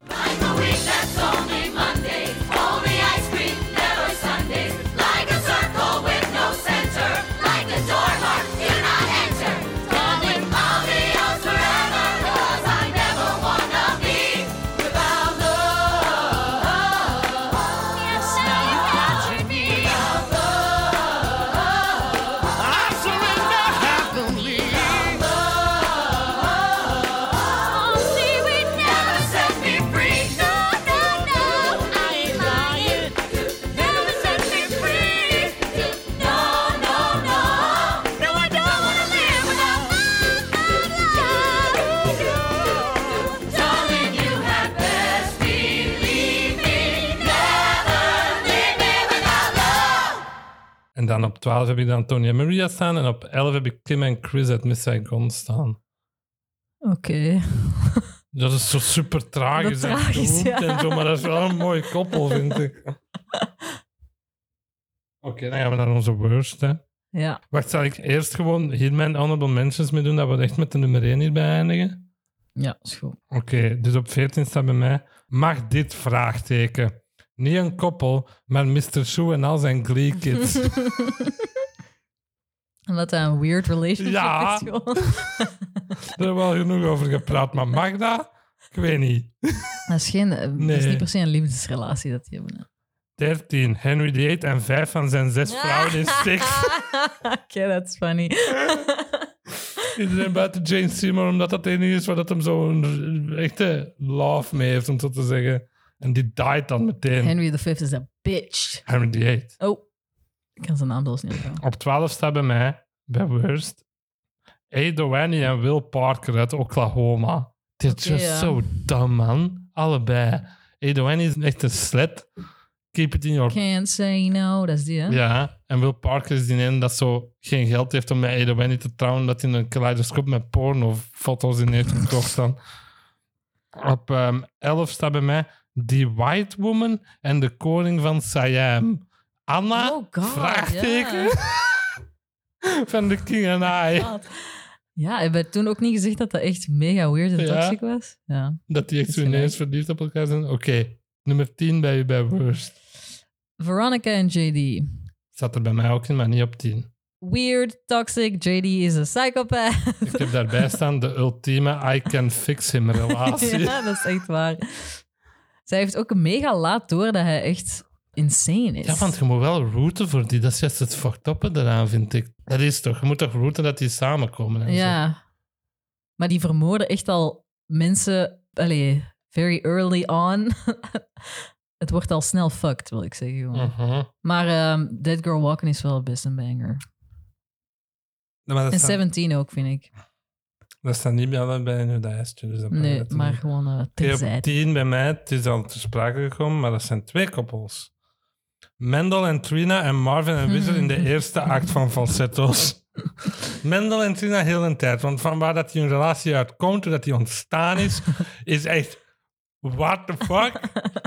Speaker 1: En dan op 12 heb ik dan Tony en Maria staan. En op 11 heb ik Kim en Chris uit Miss Saigon staan.
Speaker 2: Oké.
Speaker 1: Dat is zo super tragisch,
Speaker 2: Dat
Speaker 1: en,
Speaker 2: tragisch,
Speaker 1: beroemd
Speaker 2: ja.
Speaker 1: en zo, maar dat is wel een mooie koppel, vind ik. Oké, dan gaan we naar onze worst. Hè.
Speaker 2: Ja.
Speaker 1: Wacht, zal ik eerst gewoon hier mijn honorable mentions mee doen, dat we echt met de nummer 1 hierbij eindigen?
Speaker 2: ja, is goed.
Speaker 1: Oké, dus op 14 staat bij mij, mag dit vraagteken? Niet een koppel, maar Mr. Shoe en al zijn Glee Kids.
Speaker 2: Omdat dat een weird relationship
Speaker 1: Ja.
Speaker 2: is gewoon.
Speaker 1: Daar hebben we al genoeg over gepraat, maar mag dat? Ik weet niet.
Speaker 2: Dat is, geen, eh, dat is
Speaker 1: Nee.
Speaker 2: niet per se een liefdesrelatie dat die hebben. hè.
Speaker 1: 13, Henry VIII en vijf van zijn zes vrouwen in seks.
Speaker 2: Oké, dat is funny.
Speaker 1: Iedereen buiten Jane Seymour, omdat dat de enige is waar dat hem zo'n echte love mee heeft, om zo te zeggen. En die died dan meteen. Henry,
Speaker 2: Henry V is een bitch.
Speaker 1: VIII.
Speaker 2: Oh, ik kan zijn naam zelfs niet onthouden.
Speaker 1: Op 12 staat bij mij, bij Worst, Ada Wanny en Will Parker uit Oklahoma. Dit is
Speaker 2: Oké,
Speaker 1: just
Speaker 2: ja.
Speaker 1: zo dom, man. Allebei. Ada Wanny is echt een slet. Keep it in your...
Speaker 2: Can't say no, dat is die, hè?
Speaker 1: Ja, en Will Parker is die ene dat zo geen geld heeft om met Ada Wanny te trouwen, dat hij een kaleidoscoop met pornofoto's in heeft gekocht dan. Op ehm 11 staat bij mij die white woman en de koning van Siam. Anna,
Speaker 2: Oh god,
Speaker 1: vraagteken,
Speaker 2: ja.
Speaker 1: van de King and I.
Speaker 2: God. Ja, hebben we toen ook niet gezegd dat dat echt mega weird en
Speaker 1: Ja.
Speaker 2: toxic was? Ja.
Speaker 1: Dat die echt
Speaker 2: Is
Speaker 1: zo
Speaker 2: gelijk.
Speaker 1: ineens verliefd op elkaar zijn. Oké, nummer 10 bij u bij Worst.
Speaker 2: Veronica en JD.
Speaker 1: Zat er bij mij ook in, maar niet op 10.
Speaker 2: Weird, toxic, JD is een psychopath.
Speaker 1: Ik heb daarbij staan de ultieme I can fix him relatie.
Speaker 2: ja, dat is echt waar. Zij heeft ook mega laat door dat hij echt insane is.
Speaker 1: Ja, want je moet wel routen voor die. Dat is juist het fucked up eraan, vind ik. Dat is toch. Je moet toch routen dat die samenkomen. En zo.
Speaker 2: Ja. Maar die vermoorden echt al mensen, allee, very early on. Het wordt al snel fucked, wil ik zeggen. gewoon.
Speaker 1: Mhm.
Speaker 2: Maar ehm, Dead Girl Walking is wel best een banger.
Speaker 1: Ja, maar dat,
Speaker 2: En
Speaker 1: staat,
Speaker 2: 17 ook, vind ik.
Speaker 1: dat staat niet bij allebei in hun lijstje. Dus dat maakt
Speaker 2: Nee,
Speaker 1: het
Speaker 2: maar
Speaker 1: niet.
Speaker 2: gewoon eh
Speaker 1: Oké, op
Speaker 2: terzijde.
Speaker 1: 10 bij mij, het is al te sprake gekomen, maar dat zijn twee koppels. Mendel en Trina en Marvin en Wizard in de eerste act van Falsettos. Mendel en Trina heel een tijd. Want van waar dat die hun relatie uitkomt, dat die ontstaan is, is echt... What the fuck?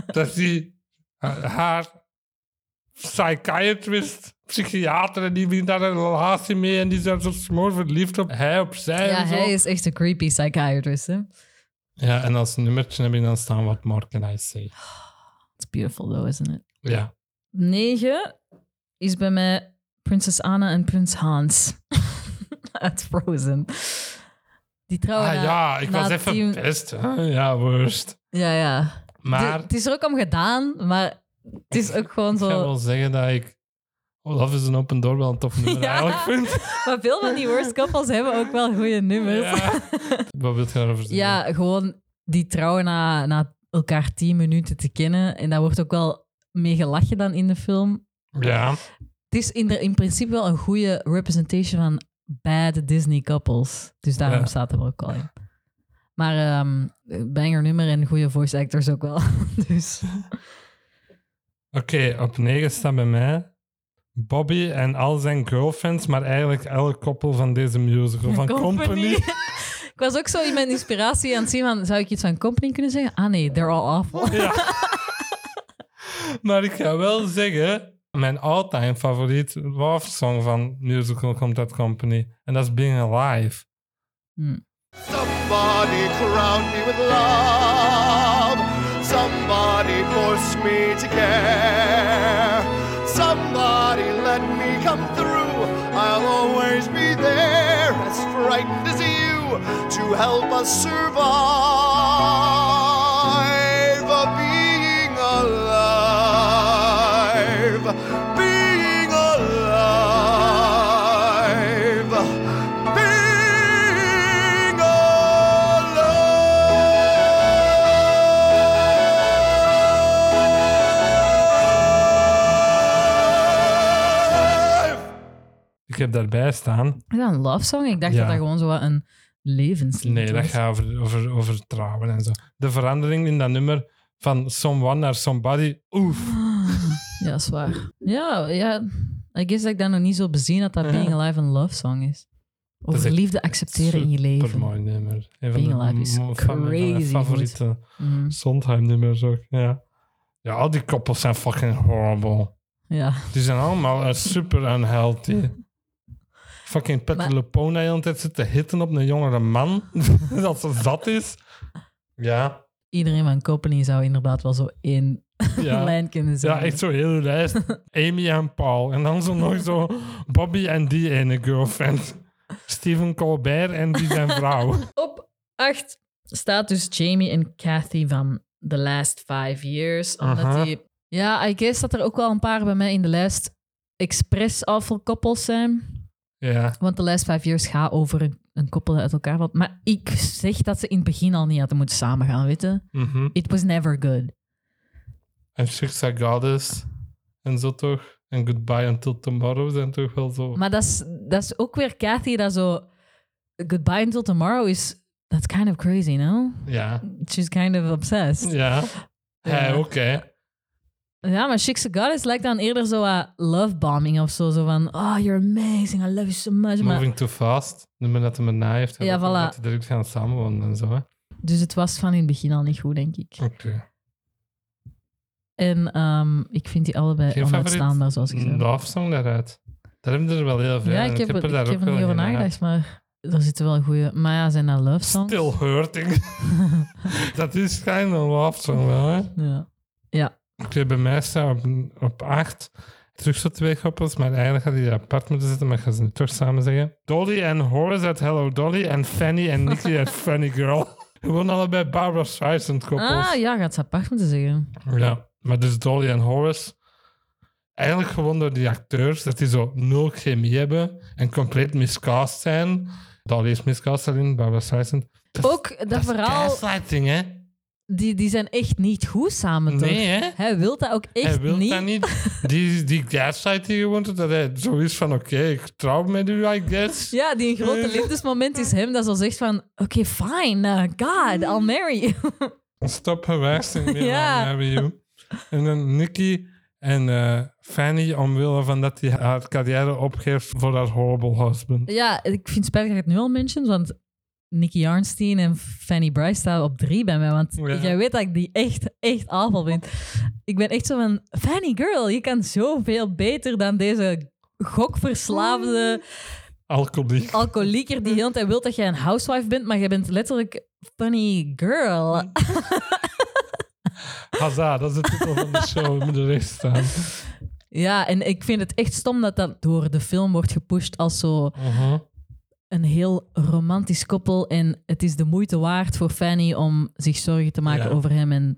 Speaker 1: dat die eh, haar psychiatrist, psychiater, en die begint daar een relatie mee en die zijn zo smoor verliefd op hij, op zij
Speaker 2: Ja,
Speaker 1: en zo.
Speaker 2: hij is echt een creepy psychiatrist, hè?
Speaker 1: Ja, en als nummertje heb je dan staan What More Can I Say.
Speaker 2: It's beautiful, though, isn't it?
Speaker 1: Ja.
Speaker 2: 9 is bij mij Prinses Anna en Prins Hans. Uit Frozen. Die trouwen
Speaker 1: Ah
Speaker 2: Oh, na-
Speaker 1: ja, ik
Speaker 2: na
Speaker 1: was even
Speaker 2: tien-
Speaker 1: best. Hè? Ja, worst.
Speaker 2: Ja, ja.
Speaker 1: Maar
Speaker 2: De- het is er ook om gedaan, maar het is ook gewoon
Speaker 1: ik ga
Speaker 2: zo...
Speaker 1: wel zeggen dat ik Olaf is een open door wel een tof nummer
Speaker 2: Ja.
Speaker 1: eigenlijk vind.
Speaker 2: Maar veel van die worst couples hebben ook wel goede nummers. Ja,
Speaker 1: Ja. Wat wil je daarover zeggen?
Speaker 2: gewoon die trouwen na, na elkaar tien minuten te kennen. En daar wordt ook wel mee gelachen dan in de film.
Speaker 1: Ja.
Speaker 2: Het is in, de- in principe wel een goede representation van bad Disney couples. Dus daarom
Speaker 1: Ja.
Speaker 2: staat hem ook al in. Maar ehm banger nummer en goede voice actors ook wel. dus
Speaker 1: Oké, op 9 staat bij mij Bobby en al zijn girlfriends, maar eigenlijk elk koppel van deze musical van Company.
Speaker 2: ik was ook zo in mijn inspiratie aan het zien van, zou ik iets van Company kunnen zeggen? Ah nee, they're all awful.
Speaker 1: Maar ik ga wel zeggen, mijn all-time favoriet love song van musical komt uit Company. En dat is Being Alive.
Speaker 9: Somebody crown me with love. Somebody force me to care. Somebody let me come through. I'll always be there, as frightened as you, to help us survive. Being alive. Being alive. Being alive.
Speaker 1: Ik heb daarbij staan.
Speaker 2: Is dat een love song? Ik dacht
Speaker 1: Ja.
Speaker 2: dat dat gewoon zo wat een levenslied
Speaker 1: Nee, dat
Speaker 2: was.
Speaker 1: gaat over, over, over trouwen en zo. De verandering in dat nummer van someone naar somebody. Oef.
Speaker 2: Ja, is waar. Ja, ja, I guess dat ik dat nog niet zo bezien had, dat Being Alive een love song is.
Speaker 1: is
Speaker 2: Over
Speaker 1: echt
Speaker 2: liefde accepteren in je leven.
Speaker 1: Supermooi nummer. Een van
Speaker 2: Being
Speaker 1: de
Speaker 2: Alive is
Speaker 1: mo- van mijn- van mijn
Speaker 2: crazy
Speaker 1: favoriete
Speaker 2: Mhm.
Speaker 1: Sondheim-nummers ook. Ja. ja, al die koppels zijn fucking horrible.
Speaker 2: Ja.
Speaker 1: Die zijn allemaal eh, super unhealthy. Fucking Petter
Speaker 2: Maar-
Speaker 1: Lepone de hele tijd zit te hitten op een jongere man. dat ze zat is. Ja.
Speaker 2: Iedereen van Company zou inderdaad wel zo één
Speaker 1: Ja.
Speaker 2: lijn kunnen zijn.
Speaker 1: ja, echt zo heel lijst. Amy en Paul. En dan zo nog zo Bobby en die ene girlfriend. Stephen Colbert en die zijn vrouw.
Speaker 2: Op acht staat dus Jamie en Kathy van The Last Five Years. Omdat
Speaker 1: Aha.
Speaker 2: die... Ja, I guess dat er ook wel een paar bij mij in de lijst expres awful koppels zijn.
Speaker 1: ja.
Speaker 2: Want The Last Five Years gaat over een, een koppel dat uit elkaar valt. Maar ik zeg dat ze in het begin al niet hadden moeten samengaan, weet je?
Speaker 1: mhm.
Speaker 2: It was never good.
Speaker 1: En Chicks Are Goddess. En zo toch. En Goodbye Until Tomorrow zijn toch wel zo.
Speaker 2: Maar dat is, dat is ook weer Kathy dat zo... Goodbye until tomorrow is... That's kind of crazy, no?
Speaker 1: Ja.
Speaker 2: She's kind of obsessed.
Speaker 1: Ja. Hij ook, hè.
Speaker 2: Ja, maar Chicks Goddess lijkt dan eerder zo aan love bombing of zo. Zo van, oh, you're amazing, I love you so much. Maar,
Speaker 1: Moving Too Fast, nummer dat hij na heeft.
Speaker 2: Ja,
Speaker 1: dat hij-
Speaker 2: voilà.
Speaker 1: Dat hij direct gaan samenwonen en zo. hè. Oké.
Speaker 2: dus het was van in het begin al niet goed, denk ik.
Speaker 1: Oh.
Speaker 2: En ehm, ik vind die allebei
Speaker 1: Geen
Speaker 2: onuitstaanbaar, zoals ik
Speaker 1: Een
Speaker 2: zei.
Speaker 1: love song daaruit. Daar hebben we er wel heel veel.
Speaker 2: Ja,
Speaker 1: en
Speaker 2: ik heb,
Speaker 1: er
Speaker 2: er-
Speaker 1: daar
Speaker 2: ik
Speaker 1: ook
Speaker 2: heb er
Speaker 1: wel
Speaker 2: niet over
Speaker 1: een, ja.
Speaker 2: nagedacht, maar er zitten wel goede... Maar ja, zijn dat love songs?
Speaker 1: Still hurting. dat is geen love song wel, hè.
Speaker 2: Ja.
Speaker 1: Oké, bij mij staan op, op acht. Terug zo twee koppels, maar eigenlijk had hij die apart moeten zitten, maar ik ga ze nu toch samen zeggen. Dolly en Horace uit Hello Dolly en Fanny en Nicky uit Funny Girl. Gewoon allebei Barbara Streisand koppels.
Speaker 2: Ah, ja, gaat ze apart moeten zeggen.
Speaker 1: Ja, maar dus Dolly en Horace. Eigenlijk gewoon door die acteurs, dat die zo nul chemie hebben en compleet miscast zijn. Dolly is miscast daarin, Barbara Streisand. Dat is-
Speaker 2: Ook dat,
Speaker 1: dat is
Speaker 2: verhaal...
Speaker 1: gaslighting, hè?
Speaker 2: die, die zijn echt niet goed samen, toch?
Speaker 1: Nee, hè?
Speaker 2: Hij wil dat ook echt
Speaker 1: Hij wil
Speaker 2: niet.
Speaker 1: dat niet. Die, die gaslighting gewoon, dat hij zo is van, oké, ik trouw met u, I guess.
Speaker 2: Ja, die een grote liefdesmoment is hem dat zo zegt van... Oké, fine, eh, God, I'll marry you.
Speaker 1: Stop harassing me,
Speaker 2: Ja.
Speaker 1: I'll marry you. En dan Nicky En eh, Fanny, omwille van dat hij haar carrière opgeeft voor haar horrible husband.
Speaker 2: Ja, ik vind het spijtig dat ik het nu al mentions, want Nicky Jarnstein en Fanny Bryce staan op drie bij mij. Want
Speaker 1: Ja.
Speaker 2: jij weet dat ik die echt, echt awful vind. Ik ben echt zo van, Fanny girl, je kan zoveel beter dan deze gokverslaafde
Speaker 1: Alcoholiek.
Speaker 2: alcoholieker die heel de tijd wil dat jij een housewife bent, maar jij bent letterlijk funny girl.
Speaker 1: Haza, dat is de titel van de show. Moet er echt staan.
Speaker 2: Ja, en ik vind het echt stom dat dat door de film wordt gepusht als zo
Speaker 1: Mhm.
Speaker 2: een heel romantisch koppel. En het is de moeite waard voor Fanny om zich zorgen te maken
Speaker 1: Ja.
Speaker 2: over hem. En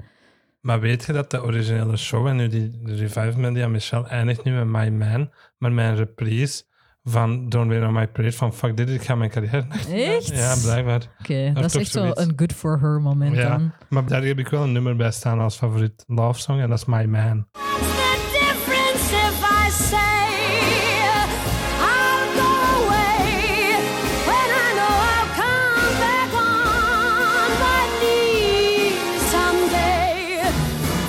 Speaker 1: Maar weet je dat de originele show en nu die de revive met die aan Michelle eindigt nu met My Man, maar mijn reprise van Don't Wait on My Parade van fuck dit, ik ga mijn carrière...
Speaker 2: Echt?
Speaker 1: Ja, blijkbaar.
Speaker 2: Oké,
Speaker 1: Maar
Speaker 2: dat is
Speaker 1: toch
Speaker 2: echt zo
Speaker 1: zoiets.
Speaker 2: een good for her moment dan.
Speaker 1: Ja, maar daar heb ik wel een nummer bij staan als favoriet love song en dat is My Man.
Speaker 3: the difference if I say I'll go away when I know I'll come back on my knees someday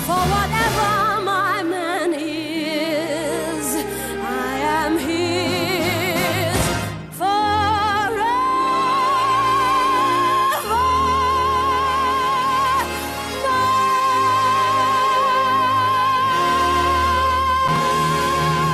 Speaker 3: for whatever my man is. I am his forever.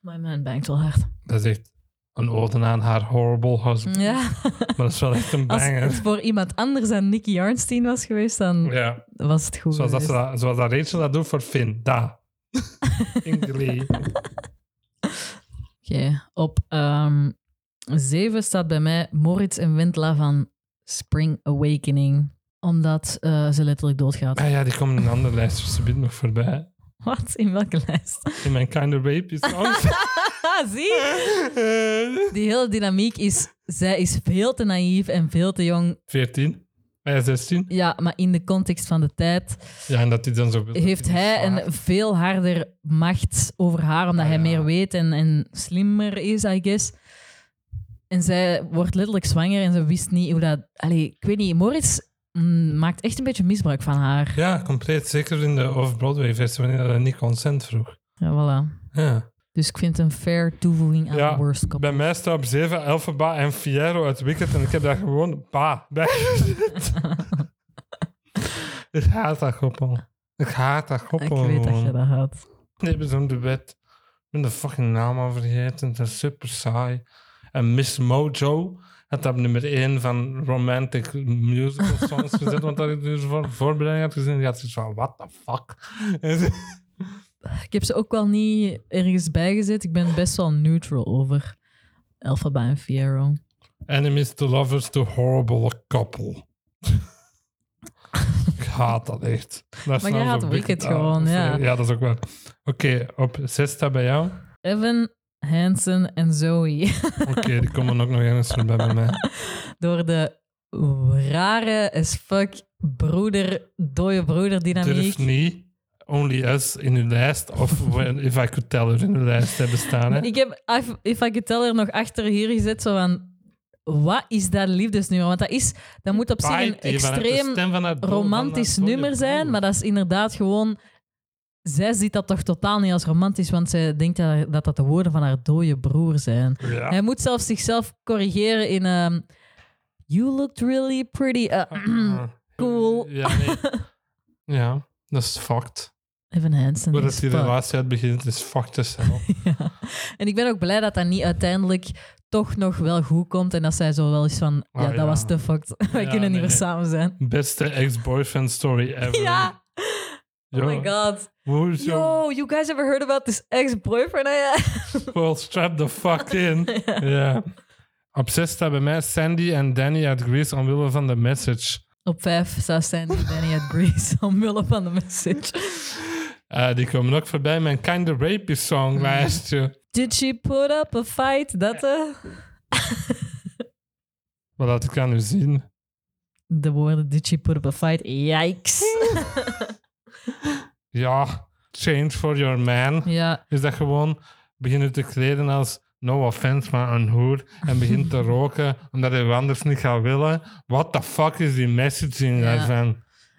Speaker 2: My man bangt wel hard.
Speaker 1: Dat is echt een ode aan haar horrible husband.
Speaker 2: Ja,
Speaker 1: Maar dat is wel echt een
Speaker 2: als
Speaker 1: banger.
Speaker 2: het voor iemand anders dan Nicky Jarnstein was geweest, dan
Speaker 1: Ja,
Speaker 2: was het goed
Speaker 1: zoals dat, ze
Speaker 2: geweest.
Speaker 1: dat, zoals dat Rachel dat doet voor Finn. Da. In Glee.
Speaker 2: Oké, op ehm zeven staat bij mij Moritz en Wendla van Spring Awakening. Omdat eh, ze letterlijk doodgaat.
Speaker 1: Ah ja, die komen in een andere lijst, dus ze biedt nog voorbij.
Speaker 2: Wat? In welke lijst?
Speaker 1: In mijn Kind of Baby songs.
Speaker 2: Ah, zie? Die hele dynamiek is... Zij is veel te naïef en veel te jong.
Speaker 1: 14. Hij is 16.
Speaker 2: Ja, maar in de context van de tijd...
Speaker 1: Ja, en dat hij dan zo...
Speaker 2: heeft hij een veel harder macht over haar, omdat
Speaker 1: Ah,
Speaker 2: hij
Speaker 1: ja.
Speaker 2: meer weet en, en slimmer is, I guess. En zij wordt letterlijk zwanger en ze wist niet hoe dat... Allee, ik weet niet, Moritz mm, maakt echt een beetje misbruik van haar.
Speaker 1: Ja, compleet. Zeker in de Off-Broadway-versie, wanneer hij niet consent vroeg.
Speaker 2: Ja, voilà.
Speaker 1: Ja.
Speaker 2: Dus ik vind het een fair toevoeging aan de worst couple.
Speaker 1: bij mij staat op 7 Elfaba en Fierro uit Wicked en ik heb daar gewoon pa bij gezet. ik haat dat koppel. Ik haat dat
Speaker 2: Ik
Speaker 1: koppel.
Speaker 2: weet dat
Speaker 1: gewoon.
Speaker 2: je dat had.
Speaker 1: Die hebben zo'n duet. Ik ben de fucking naam al vergeten. Dat is super saai. En Miss Mojo had dat op nummer 1 van romantic musical songs gezet. want dat ik dus voor voorbereiding had gezien. Die had zoiets van, what the fuck? En ze-
Speaker 2: Ik heb ze ook wel niet ergens bijgezet. Ik ben best wel neutral over Elphaba en Fiero.
Speaker 1: Enemies to lovers to horrible couple. ik haat dat nou echt. Daar staan
Speaker 2: jij
Speaker 1: ze
Speaker 2: haat
Speaker 1: op
Speaker 2: Wicked
Speaker 1: aan.
Speaker 2: gewoon, ja.
Speaker 1: Ah, Ja, dat is ook wel. Oké, op 6 staat bij jou.
Speaker 2: Evan, Hansen en Zoe.
Speaker 1: Oké, die komen ook nog ergens voorbij bij mij.
Speaker 2: door de rare as fuck broeder, dode broeder
Speaker 1: Durf
Speaker 2: dynamiek.
Speaker 1: niet Only Us in uw lijst of when, If I Could Tell Her in uw lijst hebben staan. Hè?
Speaker 2: Ik heb If- If I Could Tell er nog achter hier gezet, zo van... Wat is dat liefdesnummer? Want dat, is, dat moet op zich een
Speaker 1: Bite die vanuit de
Speaker 2: extreem
Speaker 1: stem van haar doel-
Speaker 2: romantisch
Speaker 1: van haar
Speaker 2: nummer zijn,
Speaker 1: doel-
Speaker 2: maar dat is inderdaad gewoon... Zij ziet dat toch totaal niet als romantisch, want zij denkt dat dat, dat de woorden van haar dode broer zijn.
Speaker 1: Ja.
Speaker 2: Hij moet zelfs zichzelf corrigeren in... ehm, you looked really pretty. eh, cool.
Speaker 1: Ah. Ja, nee. ja, dat is fucked.
Speaker 2: Evan Hansen.
Speaker 1: Waar
Speaker 2: is
Speaker 1: dat die
Speaker 2: fucked.
Speaker 1: relatie uit begint, is fucked as hell.
Speaker 2: Ja. En ik ben ook blij dat dat niet uiteindelijk toch nog wel goed komt. En dat zij zo wel is van,
Speaker 1: Ah,
Speaker 2: ja, dat
Speaker 1: ja.
Speaker 2: was te fucked. Wij
Speaker 1: Ja,
Speaker 2: kunnen niet
Speaker 1: nee,
Speaker 2: meer
Speaker 1: nee.
Speaker 2: samen zijn.
Speaker 1: Beste ex-boyfriend story ever.
Speaker 2: Ja. Oh my god.
Speaker 1: Hoe is your
Speaker 2: Yo, you guys ever heard about this ex-boyfriend? Ah, I had?
Speaker 1: Well, strap the fuck in. ja. Op zes staat bij mij Sandy en Danny uit Greece omwille van de message.
Speaker 2: Op vijf zou Sandy Danny at Greece omwille van de message.
Speaker 1: Eh, die komen ook voorbij mijn Kind of Rapey
Speaker 2: Mhm.
Speaker 1: song lijstje.
Speaker 2: Did she put up a fight? Dat eh,
Speaker 1: Wat laat ik aan u zien.
Speaker 2: De woorden did she put up a fight? Yikes.
Speaker 1: Ja, Change for Your Man.
Speaker 2: ja,
Speaker 1: Is dat gewoon beginnen te kleden als no offense, maar een hoer en begint te roken omdat hij wat anders niet gaat willen. What the fuck is die messaging
Speaker 2: Ja.
Speaker 1: daarvan?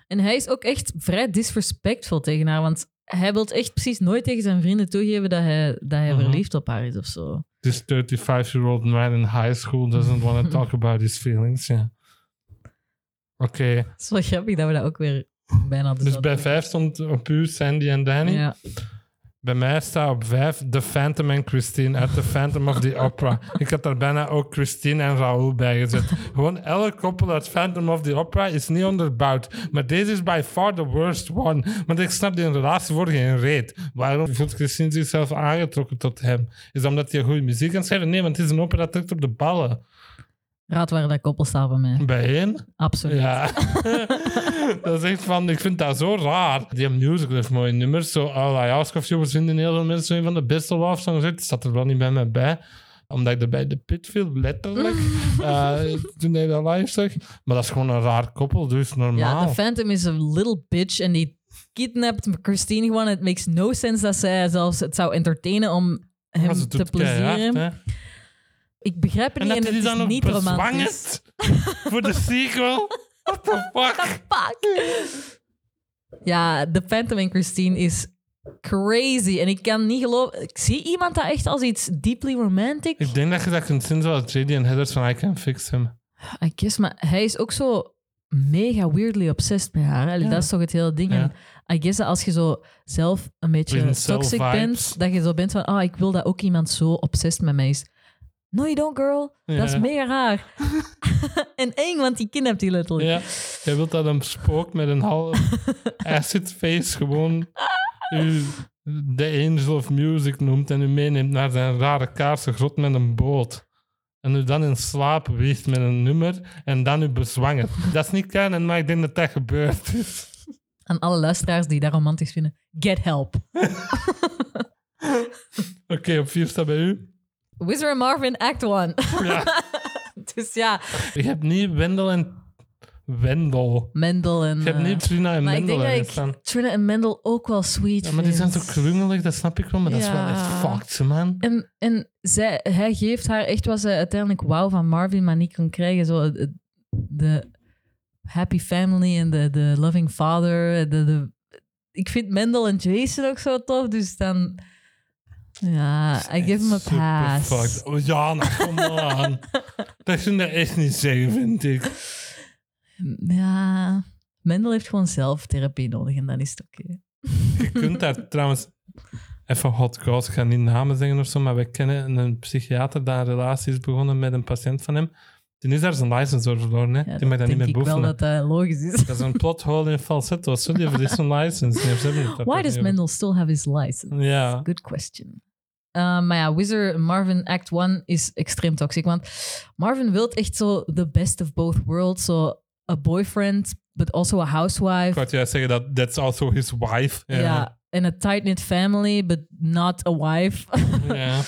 Speaker 2: En hij is ook echt vrij disrespectful tegen haar, want hij wil echt precies nooit tegen zijn vrienden toegeven dat hij, dat hij
Speaker 1: Mhm.
Speaker 2: verliefd op haar is of zo.
Speaker 1: This 35-year-old man in high school doesn't want to talk about his feelings. ja. Oké,
Speaker 2: Het is wel grappig dat we dat ook weer bijna
Speaker 1: dus
Speaker 2: dezelfde-
Speaker 1: bij 5 stond op u Sandy en Danny.
Speaker 2: Ja.
Speaker 1: Bij mij staat op 5 The Phantom en Christine uit The Phantom of the Opera. Ik had daar bijna ook Christine en Raoul bij gezet. Gewoon elk koppel uit Phantom of the Opera is niet onderbouwd. Maar deze is by far the worst one. Want ik snap die relatie voor geen reet. Waarom voelt Christine zichzelf aangetrokken tot hem? Is dat omdat hij goede muziek kan schrijven? Nee, want het is een opera dat drukt op de ballen.
Speaker 2: Raad waar dat koppel staat bij mij.
Speaker 1: Bijeen?
Speaker 2: Absoluut.
Speaker 1: Ja. dat is echt van, ik vind dat zo raar. Die musical heeft mooie nummers. Zo, All I Ask of You was vinden heel veel mensen een van de beste love songs. uit. Het staat er wel niet bij mij bij omdat ik er bij de pit viel, letterlijk, eh, toen hij dat live zag. Maar dat is gewoon een raar koppel, dus normaal.
Speaker 2: Ja, de Phantom is een little bitch en die kidnapt Christine gewoon. It makes no sense dat zij zelfs het zou entertainen om hem
Speaker 1: Maar ze doet
Speaker 2: te plezieren.
Speaker 1: keihard, hè.
Speaker 2: Ik begrijp het
Speaker 1: En
Speaker 2: niet
Speaker 1: dat
Speaker 2: en,
Speaker 1: hij die
Speaker 2: het
Speaker 1: dan
Speaker 2: is
Speaker 1: nog
Speaker 2: niet romantisch.
Speaker 1: bezwangert voor de sequel. What the fuck?
Speaker 2: Fuck. Ja, The Phantom en Christine is crazy. En ik kan niet geloven... Ik zie iemand dat echt als iets deeply romantic.
Speaker 1: Ik denk dat je dat kunt zien zoals JD en Heathers van I Can Fix Him.
Speaker 2: I guess, Ah, maar hij is ook zo mega weirdly obsessed met haar. hè. Allee, Dat is toch het hele ding.
Speaker 1: Ja.
Speaker 2: En I guess dat als je zo zelf een beetje
Speaker 1: Incel
Speaker 2: toxic
Speaker 1: vibes.
Speaker 2: bent, dat je zo bent van, ah, ik wil dat ook iemand zo obsessed met mij is. No, you don't, girl. Dat is
Speaker 1: Ja.
Speaker 2: mega raar. en eng, want die kidnapt die letterlijk.
Speaker 1: Ja, jij wilt dat een spook met een half acid face gewoon u de angel of music noemt en u meeneemt naar zijn rare kaarsengrot met een boot. En u dan in slaap weegt met een nummer en dan u bezwangert. Dat is niet kennen, maar ik denk dat dat gebeurd is.
Speaker 2: Aan alle luisteraars die dat romantisch vinden, get help.
Speaker 1: Oké, op vier staat bij u.
Speaker 2: Wizard and Marvin, act one.
Speaker 1: Ja.
Speaker 2: dus ja,
Speaker 1: Je hebt niet Wendel en... Wendel.
Speaker 2: Mendel en...
Speaker 1: Je hebt
Speaker 2: eh,
Speaker 1: niet Trina en
Speaker 2: maar ik
Speaker 1: Wendel
Speaker 2: denk
Speaker 1: erin
Speaker 2: dat
Speaker 1: staan.
Speaker 2: ik Trina en Mendel ook wel sweet
Speaker 1: Ja, maar die zijn zo
Speaker 2: vind.
Speaker 1: krungelig, dat snap ik wel, maar dat is wel echt
Speaker 2: Ja.
Speaker 1: fucked, man.
Speaker 2: En, en zij, hij geeft haar echt wat ze uiteindelijk wauw van Marvin, maar niet kon krijgen. Zo het- het- de happy family en de, de loving father. De, de, ik vind Mendel en Jason ook zo tof, dus dan... Ja, I give him a
Speaker 1: Super
Speaker 2: pass.
Speaker 1: fucked. Oh, Jana, kom aan. dat kun je echt niet zeggen, vind ik.
Speaker 2: Ja, Mendel heeft gewoon zelftherapie nodig en dan is het oké.
Speaker 1: Je kunt daar trouwens... Even hot gossip, ik ga niet namen zeggen of zo, maar wij kennen een psychiater die een relatie is begonnen met een patiënt van hem. Die is daar zijn license door verloren, hè.
Speaker 2: Ja,
Speaker 1: Die mag daar niet
Speaker 2: denk
Speaker 1: meer
Speaker 2: ik wel
Speaker 1: boeven.
Speaker 2: dat dat logisch is.
Speaker 1: Dat is een plot hole in falsetto. Sorry, die heeft zijn license. Nee, ze hebben het daar
Speaker 2: Why
Speaker 1: toch
Speaker 2: does
Speaker 1: niet over.
Speaker 2: Mendel still have his license?
Speaker 1: Ja.
Speaker 2: Good question. Uh, maar ja, Wizard Marvin Act 1 is extreem toxic. Want Marvin wil echt zo the best of both worlds. Zo a boyfriend, but also a
Speaker 1: Ik
Speaker 2: housewife.
Speaker 1: wou juist zeggen dat that's also his wife.
Speaker 2: Ja. And a tight-knit family, but not a wife.
Speaker 1: ja.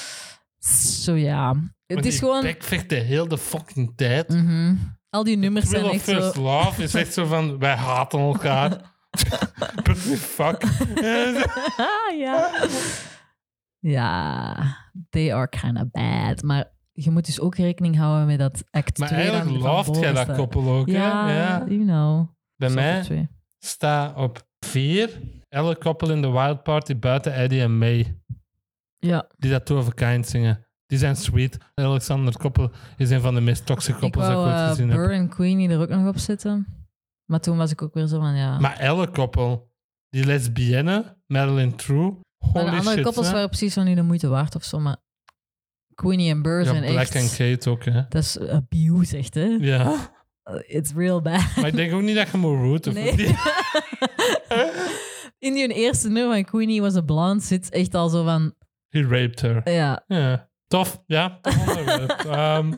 Speaker 2: Zo ja. Het
Speaker 1: Want
Speaker 2: is
Speaker 1: die
Speaker 2: gewoon...
Speaker 1: bekvecht de hele fucking tijd.
Speaker 2: Mhm. Al die nummers zijn
Speaker 1: Thrill of
Speaker 2: echt zo...
Speaker 1: First Love is echt zo van, wij haten elkaar. But we fuck.
Speaker 2: Ah, ja. Ja, they are kind of bad. Maar je moet dus ook rekening houden met dat act
Speaker 1: maar
Speaker 2: 2 dan
Speaker 1: eigenlijk
Speaker 2: van
Speaker 1: looft
Speaker 2: boven
Speaker 1: jij dat
Speaker 2: staat.
Speaker 1: koppel ook,
Speaker 2: Ja,
Speaker 1: hè? Ja.
Speaker 2: you know.
Speaker 1: Bij
Speaker 2: Stap
Speaker 1: mij
Speaker 2: twee.
Speaker 1: staat op vier elk koppel in de Wild Party buiten Eddie en May,
Speaker 2: Ja,
Speaker 1: die dat Two of a Kind zingen. Die zijn sweet. Alexander Koppel is een van de meest toxische
Speaker 2: ik
Speaker 1: koppels dat
Speaker 2: wou
Speaker 1: ik ooit
Speaker 2: eh,
Speaker 1: gezien heb.
Speaker 2: Burr en Queenie er ook nog op zitten. Maar toen was ik ook weer zo van, ja.
Speaker 1: Maar elk koppel, die lesbienne, Marilyn True,
Speaker 2: Maar de
Speaker 1: holy
Speaker 2: andere
Speaker 1: shit.
Speaker 2: koppels
Speaker 1: hè?
Speaker 2: waren precies van nu de moeite waard of zo. Maar Queenie en Burr
Speaker 1: ja,
Speaker 2: zijn
Speaker 1: Black
Speaker 2: echt...
Speaker 1: en Kate ook, hè?
Speaker 2: Dat is abuse, echt, hè?
Speaker 1: Ja.
Speaker 2: It's real bad.
Speaker 1: Maar ik denk ook niet dat je moet rooten voor
Speaker 2: Nee.
Speaker 1: die.
Speaker 2: In die eerste nummer van Queenie was a blonde zit echt al zo van...
Speaker 1: He raped her.
Speaker 2: Ja,
Speaker 1: Ja. Tof, ja. Tof onderwerp. Ehm,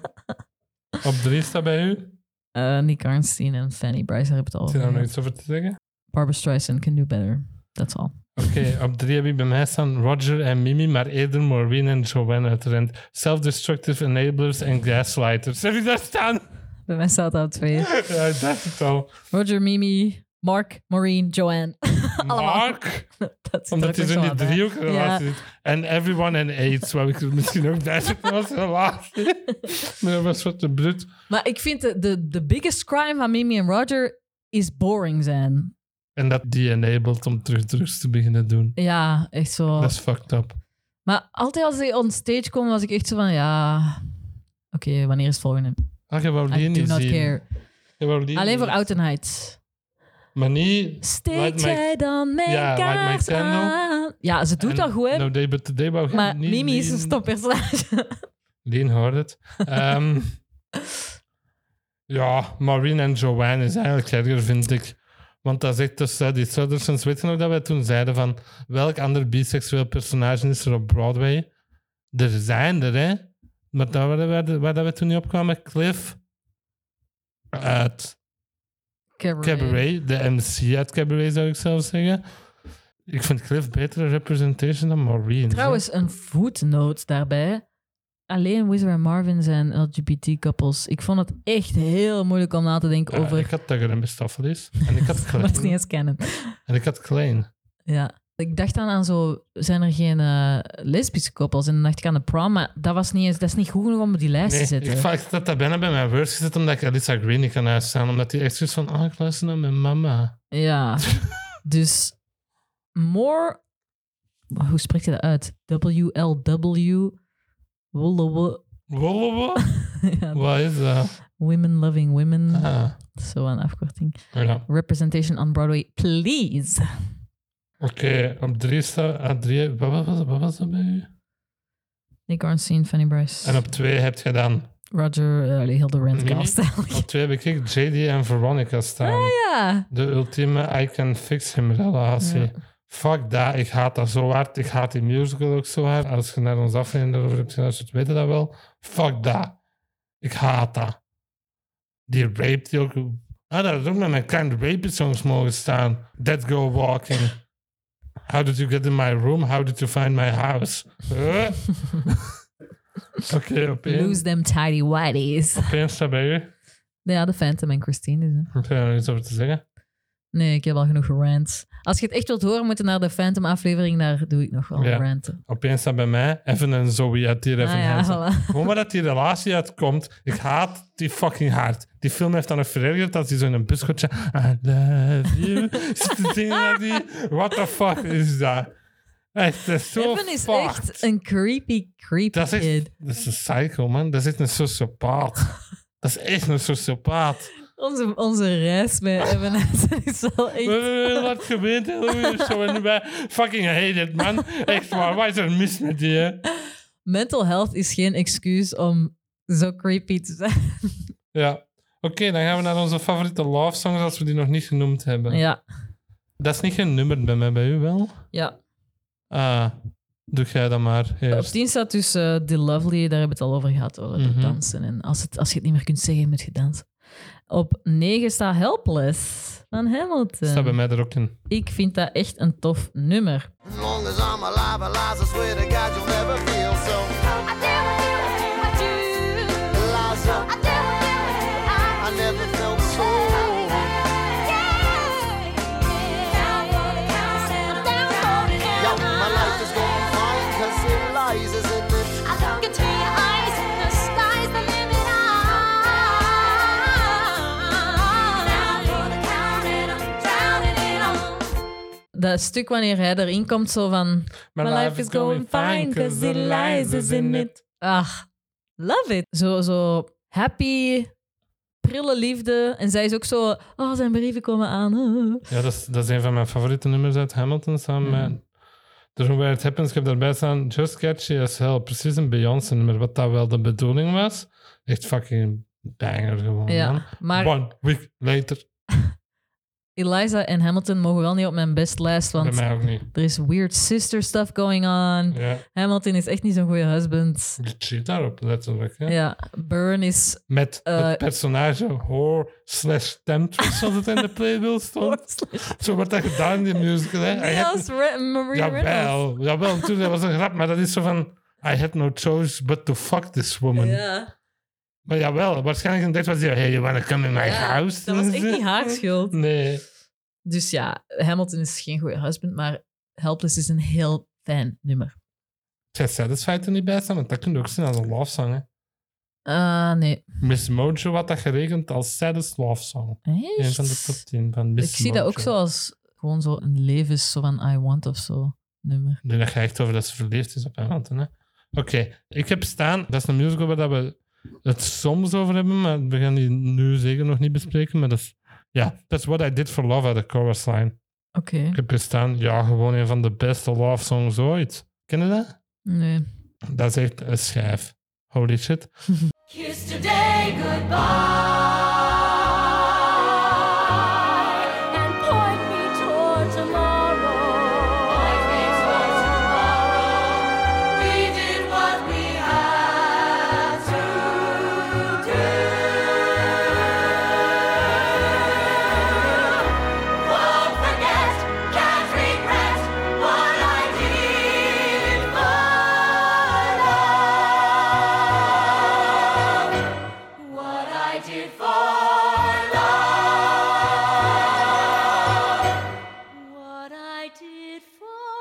Speaker 1: op drie staat bij u.
Speaker 2: eh Nick Arnstein en Fanny Bryce daar heb ik het al
Speaker 1: Is er
Speaker 2: over.
Speaker 1: nou nog iets
Speaker 2: gehad.
Speaker 1: over te zeggen?
Speaker 2: Barbara Streisand can do better. That's all.
Speaker 1: Oké, op drie heb ik bij mij staan Roger en Mimi, maar eerder Maureen en Joanne uit Rent. Self-destructive enablers en gaslighters. Heb ik daar staan?
Speaker 2: Bij mij staat dat op twee.
Speaker 1: Ja, ik dacht het al.
Speaker 2: Roger, Mimi, Mark, Maureen, Joanne. Allemaal.
Speaker 1: Mark.
Speaker 2: Dat zit
Speaker 1: Omdat hij
Speaker 2: er ook
Speaker 1: zo in
Speaker 2: nog
Speaker 1: die
Speaker 2: zo aan, hè.
Speaker 1: driehoekrelatie
Speaker 2: Ja.
Speaker 1: zit. En everyone and AIDS, waar ik misschien ook daar zit was relatie. Maar dat was wat de brut.
Speaker 2: Maar ik vind de, de, de biggest crime van Mimi en Roger is boring zijn.
Speaker 1: En dat die enabled om terug drugs te beginnen doen.
Speaker 2: Ja, echt zo.
Speaker 1: Dat is fucked up.
Speaker 2: Maar altijd als ze on stage komen, was ik echt zo van, ja... Oké, wanneer is het volgende?
Speaker 1: Ah, je wou
Speaker 2: I
Speaker 1: die
Speaker 2: do
Speaker 1: niet
Speaker 2: not
Speaker 1: zien.
Speaker 2: care.
Speaker 1: Je wou die
Speaker 2: Alleen
Speaker 1: niet-
Speaker 2: voor oud en Heights.
Speaker 1: Maar niet...
Speaker 2: Steek
Speaker 1: Light my-
Speaker 2: jij dan mee
Speaker 1: Ja, Light My
Speaker 2: kaars
Speaker 1: Candle.
Speaker 2: aan? Ah. Ja, ze doet
Speaker 1: en- nou,
Speaker 2: dat goed, hè?
Speaker 1: No, they, but today wou je
Speaker 2: maar
Speaker 1: niet
Speaker 2: Mimi is een
Speaker 1: zien.
Speaker 2: stoppersonage.
Speaker 1: Lien hoort het. Ehm, ja, Maureen en Joanne is eigenlijk erger, vind ik. Want dat is echt tussen die Sutherlands. Weet je nog dat wij toen zeiden van welk ander biseksueel personage is er op Broadway? Er zijn er, hè? Maar daar waar, waar, waar dat we toen niet opkwamen, Cliff uit
Speaker 2: Cabaret.
Speaker 1: Cabaret, de MC uit Cabaret zou ik zelf zeggen. Ik vind Cliff betere representation dan Maureen. hè.
Speaker 2: Trouwens, een footnote daarbij. Alleen Wizard en Marvin zijn LGBT-koppels. Ik vond het echt heel moeilijk om na te denken
Speaker 1: Ja,
Speaker 2: over...
Speaker 1: Eh, Ik had Tugger en Mistopheles. En ik had
Speaker 2: Maar het is niet
Speaker 1: Klein.
Speaker 2: eens kennen.
Speaker 1: en ik had Klein.
Speaker 2: Ja. Ik dacht dan aan zo, zijn er geen eh, lesbische koppels? En dan dacht ik aan de prom, maar dat, was niet eens, dat is niet goed genoeg om op die lijst te
Speaker 1: Nee,
Speaker 2: zetten.
Speaker 1: ik, va- ik zat dat bijna bij mijn worst gezet omdat ik Alyssa Green niet kan uitstaan. Omdat die echt zoiets van, ah, ik luister naar mijn mama.
Speaker 2: Ja. dus more. Hoe spreekt je dat uit? WLW. Wolle-
Speaker 1: Wollewo?
Speaker 2: Ja,
Speaker 1: Wat is dat?
Speaker 2: women loving women.
Speaker 1: Ah,
Speaker 2: Zo een afkorting.
Speaker 1: ja.
Speaker 2: Representation on Broadway, please.
Speaker 1: Oké, op drie staat... ah, drie- Wat wat was, dat- wat was dat bij u?
Speaker 2: Nick Arnstein, Fanny Bryce.
Speaker 1: En op Mhm. twee heb je dan...
Speaker 2: Roger, eh, allee, heel de Randcast eigenlijk.
Speaker 1: Op twee heb ik JD en Veronica staan.
Speaker 2: Ja.
Speaker 1: De ultieme I can fix him relatie.
Speaker 2: Ja.
Speaker 1: Fuck dat, ik haat dat zo hard. Ik haat die musical ook zo hard. Als je naar ons aflevering daarover hebt geluisterd, weet je dat wel. Fuck dat. Ik haat dat. Die rape die ook... Ah, dat had ook met mijn kleine rape songs mogen staan. That Go Walking. How did you get in my room? How did you find my house? Huh? Oké, opeens.
Speaker 2: Lose them tidy whities.
Speaker 1: Opeens daar ben je.
Speaker 2: Ja, de Phantom en Christine. dus, hè.
Speaker 1: Ik heb er nog iets over te zeggen.
Speaker 2: Nee, ik heb al genoeg gerant. Als je het echt wilt horen, moet je naar de Phantom aflevering. Daar doe ik nog wel
Speaker 1: Ja.
Speaker 2: ranten.
Speaker 1: Opeens staat bij mij even een Zoe uit die
Speaker 2: Ah,
Speaker 1: Evan
Speaker 2: ja,
Speaker 1: Hansen.
Speaker 2: voilà.
Speaker 1: Gewoon maar dat die relatie uitkomt. Ik haat die fucking hard. Die film heeft dan nog verergerd als hij zo in een buskotje... I love you. zit te zingen naar die... What the fuck is dat? Echt, dat is zo
Speaker 2: Evan is
Speaker 1: fucked.
Speaker 2: echt een creepy, creepy
Speaker 1: Dat is, echt,
Speaker 2: kid.
Speaker 1: dat is een psycho, man. Dat is echt een sociopaat. dat is echt een sociopaat.
Speaker 2: Onze, onze reis met Evan Hansen is
Speaker 1: We
Speaker 2: wel
Speaker 1: hebben
Speaker 2: echt...
Speaker 1: heel hard geweend. heel hard Zo en wij fucking hate it, man. Echt waar. Wat is er mis met die, hè?
Speaker 2: Mental health is geen excuus om zo creepy te zijn.
Speaker 1: Ja. Oké, dan gaan we naar onze favoriete love songs als we die nog niet genoemd hebben.
Speaker 2: Ja,
Speaker 1: Dat is niet genummerd bij mij, bij u wel?
Speaker 2: ja.
Speaker 1: Ah, doe jij dat maar
Speaker 2: Op
Speaker 1: eerst.
Speaker 2: 10 staat dus eh, The Lovely, daar hebben we het al over gehad, hoor.
Speaker 1: Mhm.
Speaker 2: De dansen. En als, het, als je het niet meer kunt zeggen, moet je dansen. Op 9 staat Helpless van Hamilton.
Speaker 1: Staat bij mij er ook in.
Speaker 2: Ik vind dat echt een tof nummer.
Speaker 9: As long as I'm alive, Eliza, swear to God you'll never feel so.
Speaker 4: I do, I do,
Speaker 9: Eliza,
Speaker 4: I do, I
Speaker 9: I never felt so. Yo, my life is going fine, cause Eliza's in it.
Speaker 2: Dat stuk wanneer hij erin komt, zo van... My life is going fine, cause the lies is in it. Ach, ah, love it. Zo, zo happy, prille liefde. En zij is ook zo... Oh, zijn brieven komen aan.
Speaker 1: Ja, dat is, dat is een van mijn favoriete nummers uit Hamilton samen met... Dus Where It Happens, ik heb daarbij staan Just Catchy As Hell. Precies een Beyoncé-nummer, wat dat wel de bedoeling was. Echt fucking banger gewoon, man.
Speaker 2: Ja, maar
Speaker 1: One week later.
Speaker 2: Eliza en Hamilton mogen wel niet op mijn best lijst, want
Speaker 1: bij mij ook niet.
Speaker 2: er is weird sister stuff going on.
Speaker 1: Ja,
Speaker 2: Hamilton is echt niet zo'n goede husband.
Speaker 1: je cheat daarop letterlijk. Hè?
Speaker 2: Ja, Burn is...
Speaker 1: Met
Speaker 2: Eh,
Speaker 1: het personage whore slash temptress, zoals het in de playbill stond. Zo wordt dat gedaan in die musical. Hè? Hij had-
Speaker 2: Yes, Re- Marie Reynolds.
Speaker 1: Jawel, jawel, natuurlijk, dat was een grap, maar dat is zo van... I had no choice but to fuck this woman.
Speaker 2: Ja,
Speaker 1: Maar jawel, waarschijnlijk in dit was hij... Hey, you wanna come in my
Speaker 2: Ja,
Speaker 1: house?
Speaker 2: dat was echt niet haar schuld.
Speaker 1: Nee.
Speaker 2: Dus ja, Hamilton is geen goede husband, maar Helpless is een heel fijn nummer.
Speaker 1: Zet Satisfied er niet bij staan, want dat kun je ook zien als een love song. Hè.
Speaker 2: Ah, nee.
Speaker 1: Miss Mojo had dat geregend als saddest love song. Een
Speaker 2: Echt?
Speaker 1: van de top 10 van Miss
Speaker 2: Ik zie dat ook
Speaker 1: Mojo.
Speaker 2: zo als gewoon zo een levens zo van I want of zo nummer.
Speaker 1: Ik denk dat je echt over dat ze verliefd is op Hamilton. hè. Oké, ik heb staan. Dat is een musical waar dat we het soms over hebben, maar we gaan die nu zeker nog niet bespreken. Maar dat is, ja, dat is What I Did for Love uit de chorus line.
Speaker 2: Oké.
Speaker 1: Ik heb gestaan, ja, gewoon een van de beste love songs ooit. Ken je dat?
Speaker 2: Nee.
Speaker 1: Dat is echt een schijf. Holy shit.
Speaker 3: Kiss today goodbye and point me toward tomorrow. Point me toward tomorrow. We did what we had to do. Won't forget, can't regret what I did for love. What I did for love. What I did for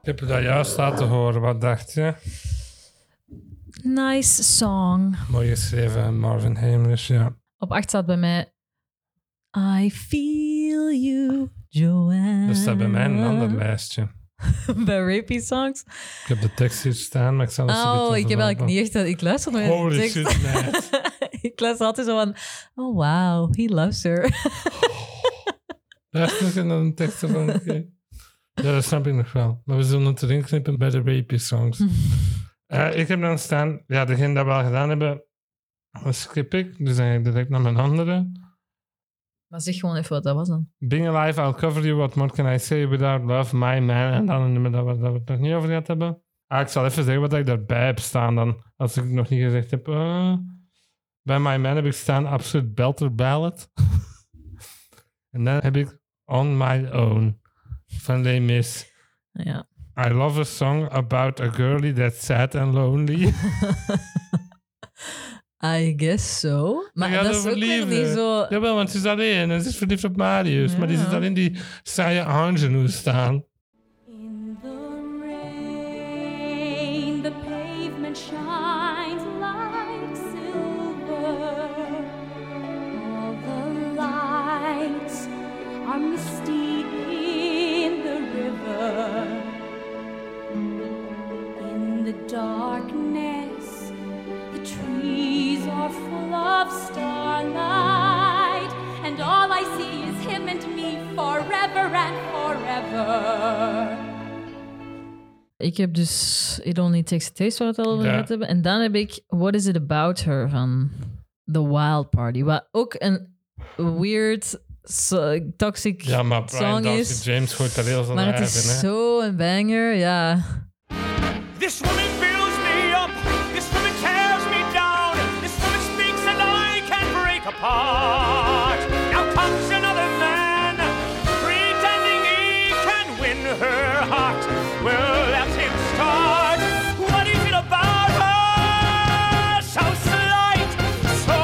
Speaker 1: Ik heb dat juist laten horen. Wat dacht je?
Speaker 2: Nice song.
Speaker 1: Mooi geschreven, Marvin Hamlish. Ja.
Speaker 2: Op 8 staat bij mij I feel you, Joanne.
Speaker 1: Dus Dat staat bij mij in een
Speaker 2: Mm-hmm.
Speaker 1: ander lijstje.
Speaker 2: bij rapey songs.
Speaker 1: Ik heb de tekst hier staan, maar ik zal het zo
Speaker 2: Oh,
Speaker 1: meteen
Speaker 2: ik heb
Speaker 1: veranderen.
Speaker 2: eigenlijk niet echt... dat- Ik luister nooit naar de
Speaker 1: Holy
Speaker 2: tekst.
Speaker 1: shit, meid.
Speaker 2: ik luister altijd zo van... Oh, wow, he loves her.
Speaker 1: Luister nog naar de teksten van... oké. Ja, dat snap ik nog wel. Maar we zullen het erin knippen bij de rapey songs. Eh, ik heb dan staan... Ja, degene dat we al gedaan hebben, dat skip ik. Dus dan ga ik direct naar mijn andere.
Speaker 2: maar zeg gewoon even wat dat was dan.
Speaker 1: Being Alive, I'll Cover You, What More Can I Say Without Love, My Man. En dan een nummer dat we, dat we het nog niet over gehad hebben. Ah, ik zal even zeggen wat ik daarbij heb staan dan. Als ik het nog niet gezegd heb. Eh, bij My Man heb ik staan Absolute Belter Ballad. en dan heb ik On My Own van Les Mis.
Speaker 2: Ja.
Speaker 1: I love a song about a girlie that's sad and lonely.
Speaker 2: I guess so. Maar
Speaker 1: gaat
Speaker 2: dat is
Speaker 1: over
Speaker 2: ook weer
Speaker 1: liefde.
Speaker 2: niet zo...
Speaker 1: Jawel, want ze is alleen en ze is verliefd op Marius. Maar die
Speaker 2: Ja.
Speaker 1: zit alleen die saaie Angelou staan.
Speaker 4: In the rain, the pavement shines like silver. All the lights are misty in the river. In the darkness, the trees are full of starlight, and all I see is him and me forever and forever.
Speaker 2: Ik heb dus It Only Takes a Taste, waar we het al over
Speaker 1: Ja.
Speaker 2: gehad hebben. En dan heb ik What Is It About Her van The Wild Party. Wat ook een weird, so- toxic
Speaker 1: Ja, maar Brian
Speaker 2: song
Speaker 1: Dawson
Speaker 2: is.
Speaker 1: James gooit daar heel veel
Speaker 2: Maar
Speaker 1: naar
Speaker 2: het
Speaker 1: hè.
Speaker 2: is zo'n banger, ja.
Speaker 5: This woman builds me up. This woman tears me down. This woman speaks and I can break apart. Now comes another man, pretending he can win her heart. Well, let him start. What is it about her? So slight, so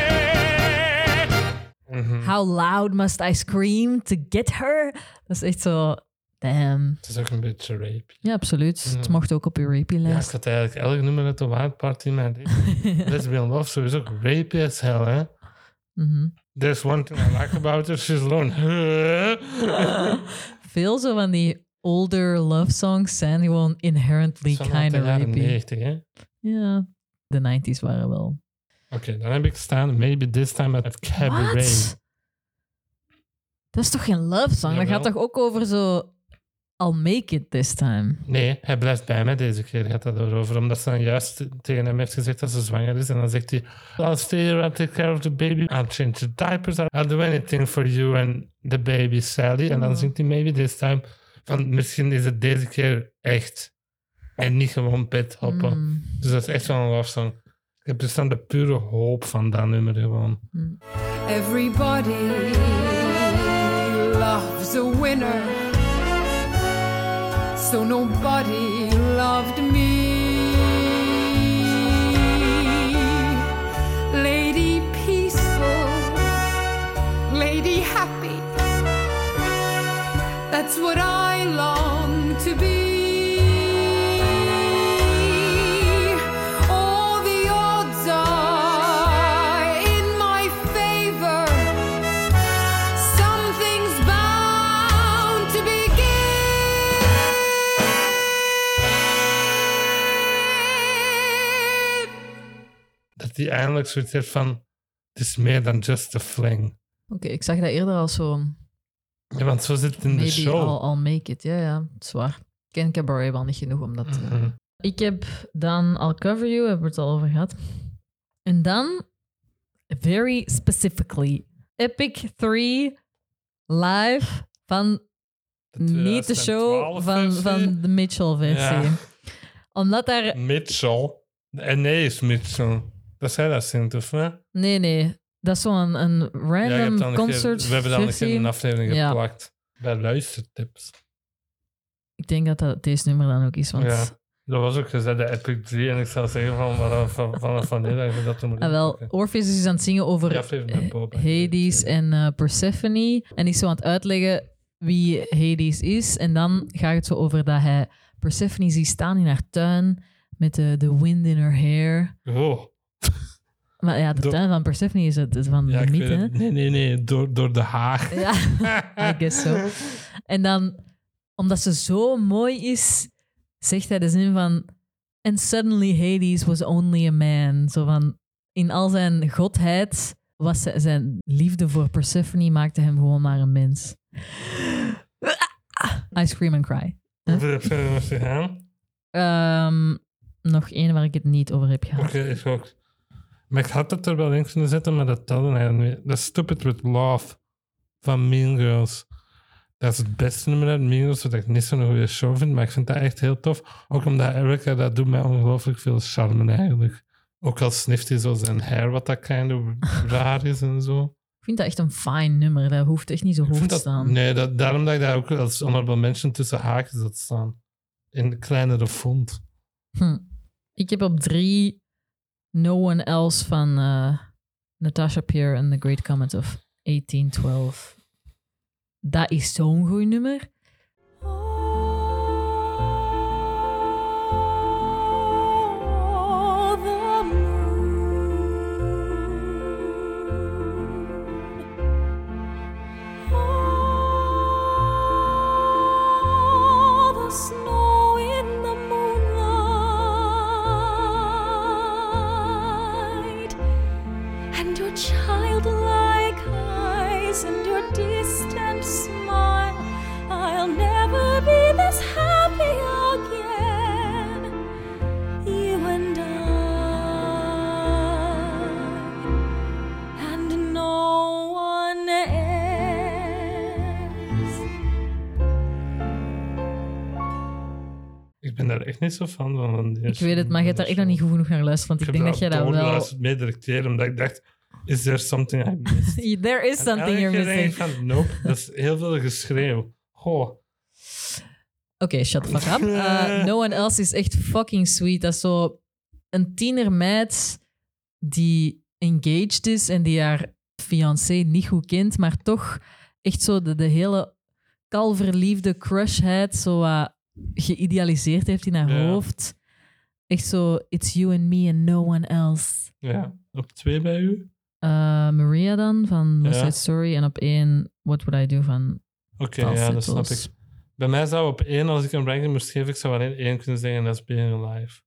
Speaker 5: secret.
Speaker 1: Mm-hmm.
Speaker 2: How loud must I scream to get her? Dat is echt zo... Damn.
Speaker 1: Het is ook een beetje rape.
Speaker 2: Ja, absoluut. Het mocht ook op je
Speaker 1: Mm-hmm. Ja,
Speaker 2: rapey-lijst.
Speaker 1: ik had eigenlijk elk nummer uit de Wild Party in mijn leven. Lesbian Love sowieso ook rapey as hell, hè.
Speaker 2: Mhm.
Speaker 1: There's one thing I like about her, she's alone.
Speaker 2: Veel zo van die older love songs zijn gewoon inherently
Speaker 1: Van uit
Speaker 2: kind
Speaker 1: de
Speaker 2: of
Speaker 1: jaren
Speaker 2: rapey.
Speaker 1: 90, hè. Oké,
Speaker 2: Ja, de 90s waren wel.
Speaker 1: dan heb ik staan Maybe This Time at Cabaret.
Speaker 2: Wat? Dat is toch geen love song? Dat
Speaker 1: Jawel.
Speaker 2: gaat toch ook over zo. I'll make it this time.
Speaker 1: Nee, hij blijft bij mij deze keer, gaat dat erover. Omdat ze dan juist tegen hem heeft gezegd dat ze zwanger is. En dan zegt hij, I'll stay here, I'll take care of the baby. I'll change the diapers, I'll do anything for you and the baby Sally. En
Speaker 2: Mm.
Speaker 1: dan zingt hij maybe this time van misschien is het deze keer echt. En niet gewoon pet hoppen.
Speaker 2: Mm.
Speaker 1: Dus dat is echt wel een love song. Ik heb dus dan de pure hoop van dat nummer gewoon.
Speaker 8: Everybody loves a winner.
Speaker 10: so nobody loved me. Lady peaceful, lady happy, that's what I long to be. All the odds are in my favor. Something's bound to begin.
Speaker 1: Dat hij eindelijk zoiets heeft van... Het is meer dan just a fling.
Speaker 2: ik zag dat eerder als zo'n
Speaker 1: Ja, want zo zit het in de
Speaker 2: maybe
Speaker 1: show.
Speaker 2: I'll, I'll make it. Ja, ja, zwaar. Ik ken Cabaret wel niet genoeg om dat eh, te...
Speaker 1: Mhm.
Speaker 2: Ik heb dan I'll Cover You, hebben we het al over gehad. En dan, very specifically, Epic 3 live van niet de show
Speaker 1: 2012
Speaker 2: van,
Speaker 1: versie.
Speaker 2: van de Mitchell-versie.
Speaker 1: Ja.
Speaker 2: Omdat daar...
Speaker 1: eh, Mitchell. En nee is Mitchell. Dat zei dat Sint, of hè?
Speaker 2: Nee, nee. Dat is zo'n een
Speaker 1: je hebt
Speaker 2: random
Speaker 1: dan een keer-
Speaker 2: concert
Speaker 1: we hebben dan een keer
Speaker 2: versie.
Speaker 1: een aflevering
Speaker 2: Ja.
Speaker 1: geplakt. Bij luistertips.
Speaker 2: Ik denk dat dat deze nummer dan ook is, want...
Speaker 1: Ja. Dat was ook gezegd, de Epic 3. En ik zou zeggen van vanaf van, vanaf wanneer dat je dat moet
Speaker 2: Ah, wel, Orpheus is aan het zingen over
Speaker 1: Ja, aflevering met Boba.
Speaker 2: Eh, Hades en eh, Persephone. En is zo aan het uitleggen wie Hades is. En dan gaat het zo over dat hij Persephone ziet staan in haar tuin met de, de wind in her hair.
Speaker 1: Oh,
Speaker 2: Maar ja, de
Speaker 1: Door-
Speaker 2: tuin van Persephone is het het van
Speaker 1: ja,
Speaker 2: de
Speaker 1: ik
Speaker 2: mythe.
Speaker 1: weet het.
Speaker 2: hè?
Speaker 1: Nee, nee, nee. Door, door de haag.
Speaker 2: Ja, I guess so. En dan, omdat ze zo mooi is, zegt hij de zin van... And suddenly Hades was only a man. Zo van, in al zijn godheid was ze- zijn liefde voor Persephone maakte hem gewoon maar een mens. I scream and cry.
Speaker 1: Hoeveel heb je er nog gedaan?
Speaker 2: Ehm, nog één waar ik het niet over heb gehad.
Speaker 1: Oké, ik ook. Maar ik had het er wel in kunnen zetten, maar dat telde eigenlijk niet. Dat is Stupid With Love van Mean Girls. Dat is het beste nummer uit Mean Girls, wat ik niet zo'n goede show vind, maar ik vind dat echt heel tof. Ook omdat Erica, dat doet mij ongelooflijk veel charme eigenlijk. Ook al snift hij zo zijn hair, wat dat kind of raar is en zo.
Speaker 2: Ik vind dat echt een fijn nummer. Dat hoeft echt niet zo
Speaker 1: Ik
Speaker 2: hoog
Speaker 1: vind
Speaker 2: te
Speaker 1: dat-
Speaker 2: staan.
Speaker 1: Nee, dat, daarom dat ik daar ook als honorable mention tussen haakjes had staan. In de kleinere font.
Speaker 2: Hm. Ik heb op drie No One Else van eh, Natasha Peer en The Great Comet of 1812. Dat is zo'n goed nummer.
Speaker 3: Oh, the moon. Oh, the snow in the moonlight. And your childlike eyes and your distant smile. I'll never be this happy again you and I, and no one else.
Speaker 1: Ik ben daar echt niet zo fan van. van die
Speaker 2: Ik weet het, maar je hebt daar echt nog niet goed genoeg naar luisteren, want ik, denk dat jij dat wel...
Speaker 1: Ik heb mee directeren, omdat ik dacht, is there something I missed?
Speaker 2: There is something
Speaker 1: En elke
Speaker 2: you're
Speaker 1: keer denk ik
Speaker 2: missing. Oké,
Speaker 1: Van, nope, dat is heel veel geschreeuw. Goh,
Speaker 2: shut the fuck up. Eh, no One Else is echt fucking sweet. Dat is zo een tienermeid die engaged is en die haar fiancé niet goed kent, maar toch echt zo de, de hele kalverliefde crushheid zo wat geïdealiseerd heeft in haar
Speaker 1: Ja.
Speaker 2: hoofd. Echt zo, it's you and me and no one else.
Speaker 1: ja. Op twee bij u?
Speaker 2: Eh, Maria dan, van West
Speaker 1: Ja.
Speaker 2: Side Story. En op één, What Would I Do van...
Speaker 1: Oké, ja, dat
Speaker 2: Falsettos.
Speaker 1: snap ik. Bij mij zou op één, als ik een ranking moest geven, ik zou alleen één kunnen zeggen, dat is Being Alive.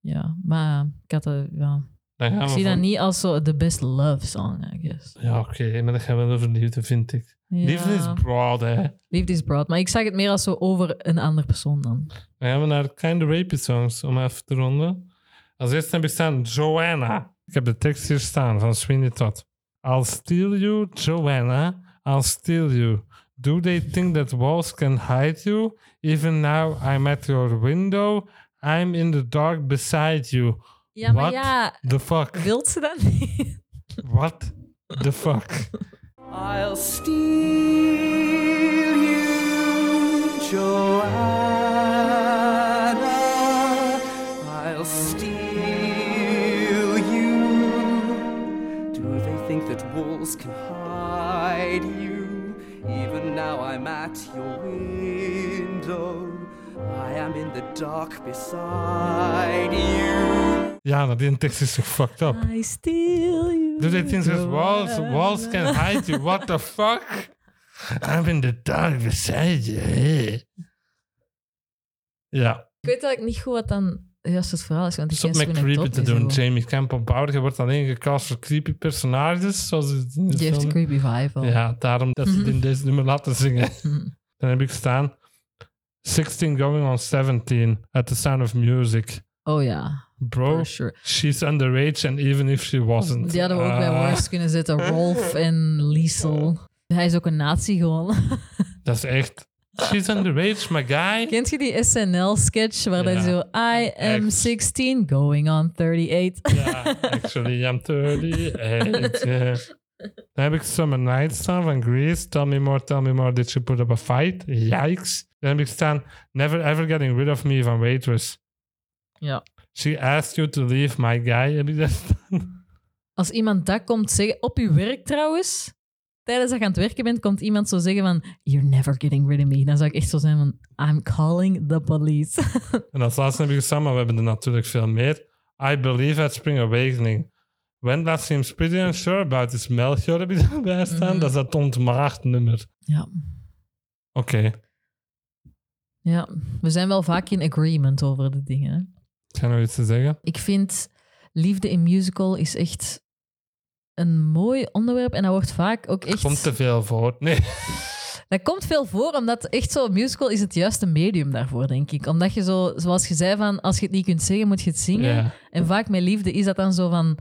Speaker 2: Ja, maar ik, had dat- ja.
Speaker 1: Dan gaan
Speaker 2: ik
Speaker 1: we
Speaker 2: zie dat
Speaker 1: van-
Speaker 2: niet als zo de best love song, I guess.
Speaker 1: Ja, oké, maar dat gaan we wel over liefde, vind ik.
Speaker 2: Ja.
Speaker 1: Liefde is broad, hè.
Speaker 2: Liefde is broad. Maar ik zag het meer als zo over een andere persoon dan.
Speaker 1: Dan gaan we naar Kind of Rapey Songs om even te ronden. Als eerste heb ik staan Joanna. Ik heb de tekst hier staan van Sweeney Todd. I'll steal you, Joanna. I'll steal you. Do they think that walls can hide you? Even now I'm at your window. I'm in the dark beside you.
Speaker 2: Ja, maar
Speaker 1: What
Speaker 2: ja,
Speaker 1: the fuck?
Speaker 2: wilt ze dat niet?
Speaker 1: What the fuck?
Speaker 7: I'll steal you, Joanne.
Speaker 6: I'm in the dark beside you.
Speaker 1: Ja, dat die tekst is toch fucked up.
Speaker 11: I steal you.
Speaker 1: Do they think there's walls? Walls can hide you. What the fuck? I'm in the dark beside you. eh? Ja,
Speaker 2: Ik weet eigenlijk niet goed wat dan juist het verhaal is, want ik
Speaker 1: stop
Speaker 2: ken
Speaker 1: met
Speaker 2: Spin en
Speaker 1: creepy
Speaker 2: Top
Speaker 1: te
Speaker 2: niet
Speaker 1: doen.
Speaker 2: zo.
Speaker 1: Jamie Campbell Bauer, je wordt alleen gecast voor creepy personages. Zoals het in de
Speaker 2: Die heeft
Speaker 1: film.
Speaker 2: een creepy Mhm. vibe al.
Speaker 1: Ja, daarom dat ze het in deze nummer laten zingen.
Speaker 2: Mhm.
Speaker 1: Dan heb ik staan 16 going on 17 at the sound of music.
Speaker 2: Oh ja.
Speaker 1: Bro, she's underage and even if she wasn't.
Speaker 2: Die hadden we ook bij
Speaker 1: Ah,
Speaker 2: Worst kunnen zetten. Rolf en Liesel. Hij is ook een nazi gewoon.
Speaker 1: Dat is echt... She's underage, my guy.
Speaker 2: Kent je die SNL-sketch waar
Speaker 1: Ja.
Speaker 2: hij zo... I am 16, going on 38.
Speaker 1: Ja, actually, I'm 38. yeah. Dan heb ik Summer Night staan van Grease. Tell me more, tell me more. Did she put up a fight? Yikes. Dan heb ik staan Never Ever Getting Rid of Me van Waitress.
Speaker 2: Ja.
Speaker 1: She asked you to leave my guy. Heb ik dat staan?
Speaker 2: Als iemand dat komt zeggen... Op uw werk trouwens... Tijdens dat je aan het werken bent, komt iemand zo zeggen van... You're never getting rid of me. Dan zou ik echt zo zijn van... I'm calling the police.
Speaker 1: En als laatste heb ik gestaan, maar we hebben er natuurlijk veel meer. I Believe at Spring Awakening. Wendla seems pretty unsure about his Melchior heb ik daarbij staan. Dat is dat ontmaagd nummer.
Speaker 2: Mm. Ja.
Speaker 1: Oké.
Speaker 2: ja, we zijn wel vaak in agreement over de dingen. hè.
Speaker 1: Ik ga nog iets te zeggen.
Speaker 2: Ik vind liefde in musical is echt een mooi onderwerp. En dat wordt vaak ook echt...
Speaker 1: Komt te veel voor. Nee.
Speaker 2: Dat komt veel voor, omdat echt zo musical is het juiste medium daarvoor, denk ik. Omdat je zo, zoals je zei, van als je het niet kunt zingen, moet je het zingen.
Speaker 1: Ja.
Speaker 2: En vaak met liefde is dat dan zo van,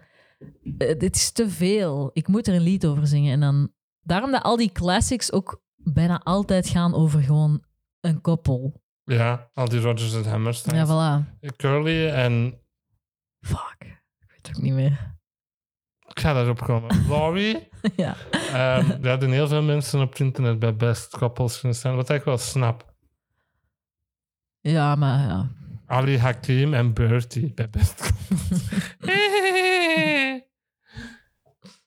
Speaker 2: eh, dit is te veel. Ik moet er een lied over zingen. En dan, daarom dat al die classics ook bijna altijd gaan over gewoon een koppel.
Speaker 1: Ja, al die Rodgers en Hammerstein.
Speaker 2: Ja, voilà.
Speaker 1: Curly en...
Speaker 2: Ik weet ook niet meer.
Speaker 1: Ik ga daarop komen. Laurie.
Speaker 2: ja.
Speaker 1: Ehm, er hadden heel veel mensen op het internet bij best koppels kunnen staan. Wat ik wel snap.
Speaker 2: Ja, maar ja.
Speaker 1: Ali Hakim en Bertie bij best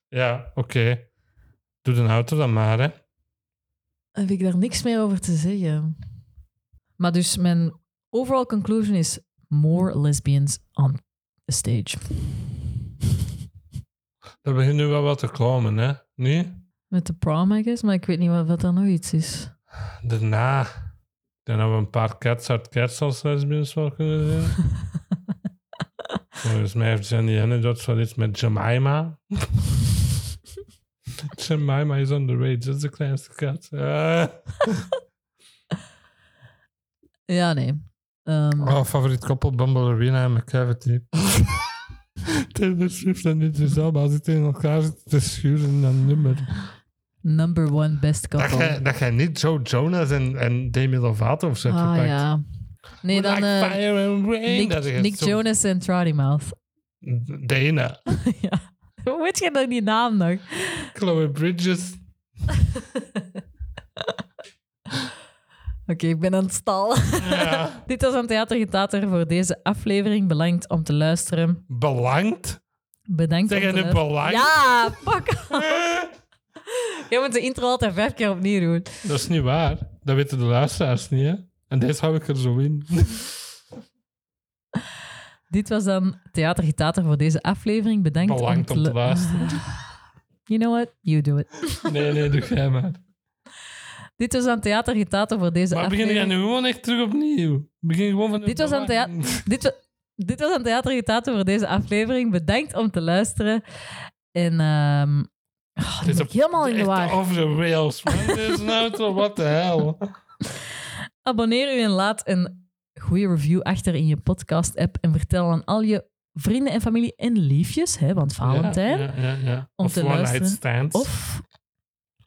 Speaker 1: Ja, oké. Doe de auto dan maar, hè.
Speaker 2: heb ik daar niks meer over te zeggen. Maar dus mijn overall conclusion is more lesbians on the stage.
Speaker 1: Er begint nu wel wat te komen, hè. Nu?
Speaker 2: Met de prom, I guess, maar ik weet niet wat, wat dan nog iets is.
Speaker 1: Daarna. Ik denk dat we een paar cats uit cats als lesbians wel kunnen zien. Volgens mij heeft Jenny Henne dat wel iets met Jemima. Jemima is underage, dat is de kleinste kat. Eh.
Speaker 2: Ja, nee. Ehm,
Speaker 1: Oh, favoriet koppel, Bumble Arena en McCavity. Taylor Swift en Idris Elba, als die tegen elkaar zitten te schuren, dan nummer.
Speaker 2: Number one best
Speaker 1: Dat
Speaker 2: couple.
Speaker 1: jij, dat jij niet Joe Jonas en, en Demi Lovato of zo hebt
Speaker 2: Ah
Speaker 1: gepakt.
Speaker 2: ja. Nee, dan
Speaker 1: Like
Speaker 2: eh,
Speaker 1: fire and rain.
Speaker 2: Nick,
Speaker 1: dat is echt
Speaker 2: Nick
Speaker 1: zo-
Speaker 2: Jonas en Trouty Mouth.
Speaker 1: Dana.
Speaker 2: Hoe weet je dan die naam nog?
Speaker 1: Chloe Bridges.
Speaker 2: Oké, ik ben aan het stal. Dit was een theatergetater voor deze aflevering. Bedankt om te luisteren.
Speaker 1: Belangt?
Speaker 2: Bedankt
Speaker 1: Zeg
Speaker 2: om
Speaker 1: je
Speaker 2: te
Speaker 1: nu
Speaker 2: luisteren.
Speaker 1: belangt?
Speaker 2: Ja, fuck off. Jij moet de intro altijd vijf keer opnieuw doen.
Speaker 1: Dat is niet waar. Dat weten de luisteraars niet, hè? En deze hou ik er zo in.
Speaker 2: Dit was dan theatergetater voor deze aflevering. Bedankt
Speaker 1: Belangt om te
Speaker 2: lu-
Speaker 1: luisteren.
Speaker 2: You know what? You do it.
Speaker 1: Nee, nee, doe jij maar.
Speaker 2: Dit was aan Theater Getater voor deze
Speaker 1: Maar begin
Speaker 2: aflevering.
Speaker 1: jij nu gewoon echt terug opnieuw? Begin gewoon van...
Speaker 2: Dit was aan Thea- dit, wa- dit was aan Theater Getater voor deze aflevering. Bedankt om te luisteren. En ehm oh, nu
Speaker 1: Dit is
Speaker 2: ben
Speaker 1: op-
Speaker 2: ik helemaal in de
Speaker 1: echt
Speaker 2: war.
Speaker 1: over de rails, man. Dit is nou toch, what the hell?
Speaker 2: Abonneer u en laat een goede review achter in je podcast-app. En vertel aan al je vrienden en familie en liefjes, hè, want Valentijn.
Speaker 1: Ja, ja, ja, ja.
Speaker 2: Om
Speaker 1: of
Speaker 2: te
Speaker 1: one
Speaker 2: luisteren.
Speaker 1: night stands.
Speaker 2: Of,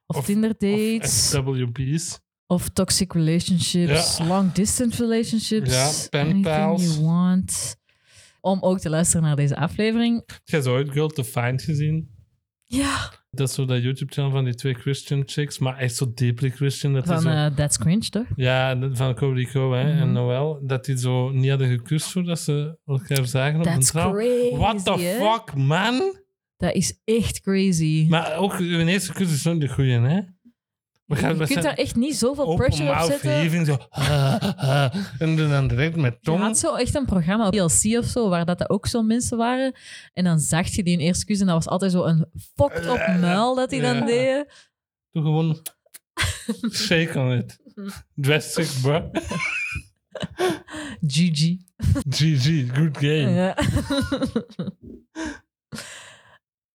Speaker 2: of, Tinder dates. Of,
Speaker 1: SWB's.
Speaker 2: toxic relationships.
Speaker 1: Ja.
Speaker 2: Long distance relationships.
Speaker 1: Ja, pen
Speaker 2: anything
Speaker 1: pals.
Speaker 2: you want. Om ook te luisteren naar deze aflevering.
Speaker 1: Heb jij zo ooit Girl to Find gezien?
Speaker 2: Ja.
Speaker 1: Dat is zo dat YouTube-channel van die twee Christian chicks, maar echt zo deeply Christian. Dat die
Speaker 2: Van
Speaker 1: zo-
Speaker 2: eh That's Cringe, toch?
Speaker 1: Ja, de- van Cody Co hè, en
Speaker 2: Mhm.
Speaker 1: Noel. Dat die zo niet hadden gekust voordat ze elkaar zagen op een
Speaker 2: That's
Speaker 1: trouw.
Speaker 2: crazy,
Speaker 1: What the
Speaker 2: hè?
Speaker 1: fuck, man?
Speaker 2: Dat is echt crazy.
Speaker 1: Maar ook hun eerste kus is nooit de goeie, hè? We gaan
Speaker 2: Je
Speaker 1: we
Speaker 2: kunt
Speaker 1: zijn
Speaker 2: daar echt niet zoveel
Speaker 1: open
Speaker 2: pressure op
Speaker 1: mouth
Speaker 2: zetten.
Speaker 1: heaving, zo, en doen dan direct met
Speaker 2: Je
Speaker 1: tong.
Speaker 2: had zo echt een programma op TLC of zo, waar dat ook zo'n mensen waren. En dan zag je die een eerste kus en dat was altijd zo een fokt op muil dat die
Speaker 1: Ja.
Speaker 2: dan deden.
Speaker 1: Doe gewoon shake on it.
Speaker 2: Mhm.
Speaker 1: Drastic, bro.
Speaker 2: GG.
Speaker 1: GG, good game.
Speaker 2: Ja.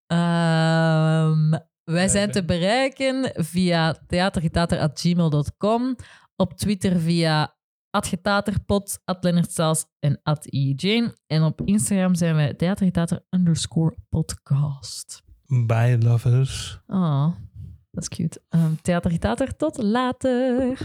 Speaker 2: Ehm, wij zijn te bereiken via theatergetater.gmail.com, op Twitter via atgetaterpot, atlennertstaals en atijane. En op Instagram zijn wij theatergetater underscore podcast. Ah,
Speaker 1: Bye, lovers.
Speaker 2: Oh, dat is cute. Ehm Theatergetater, tot later!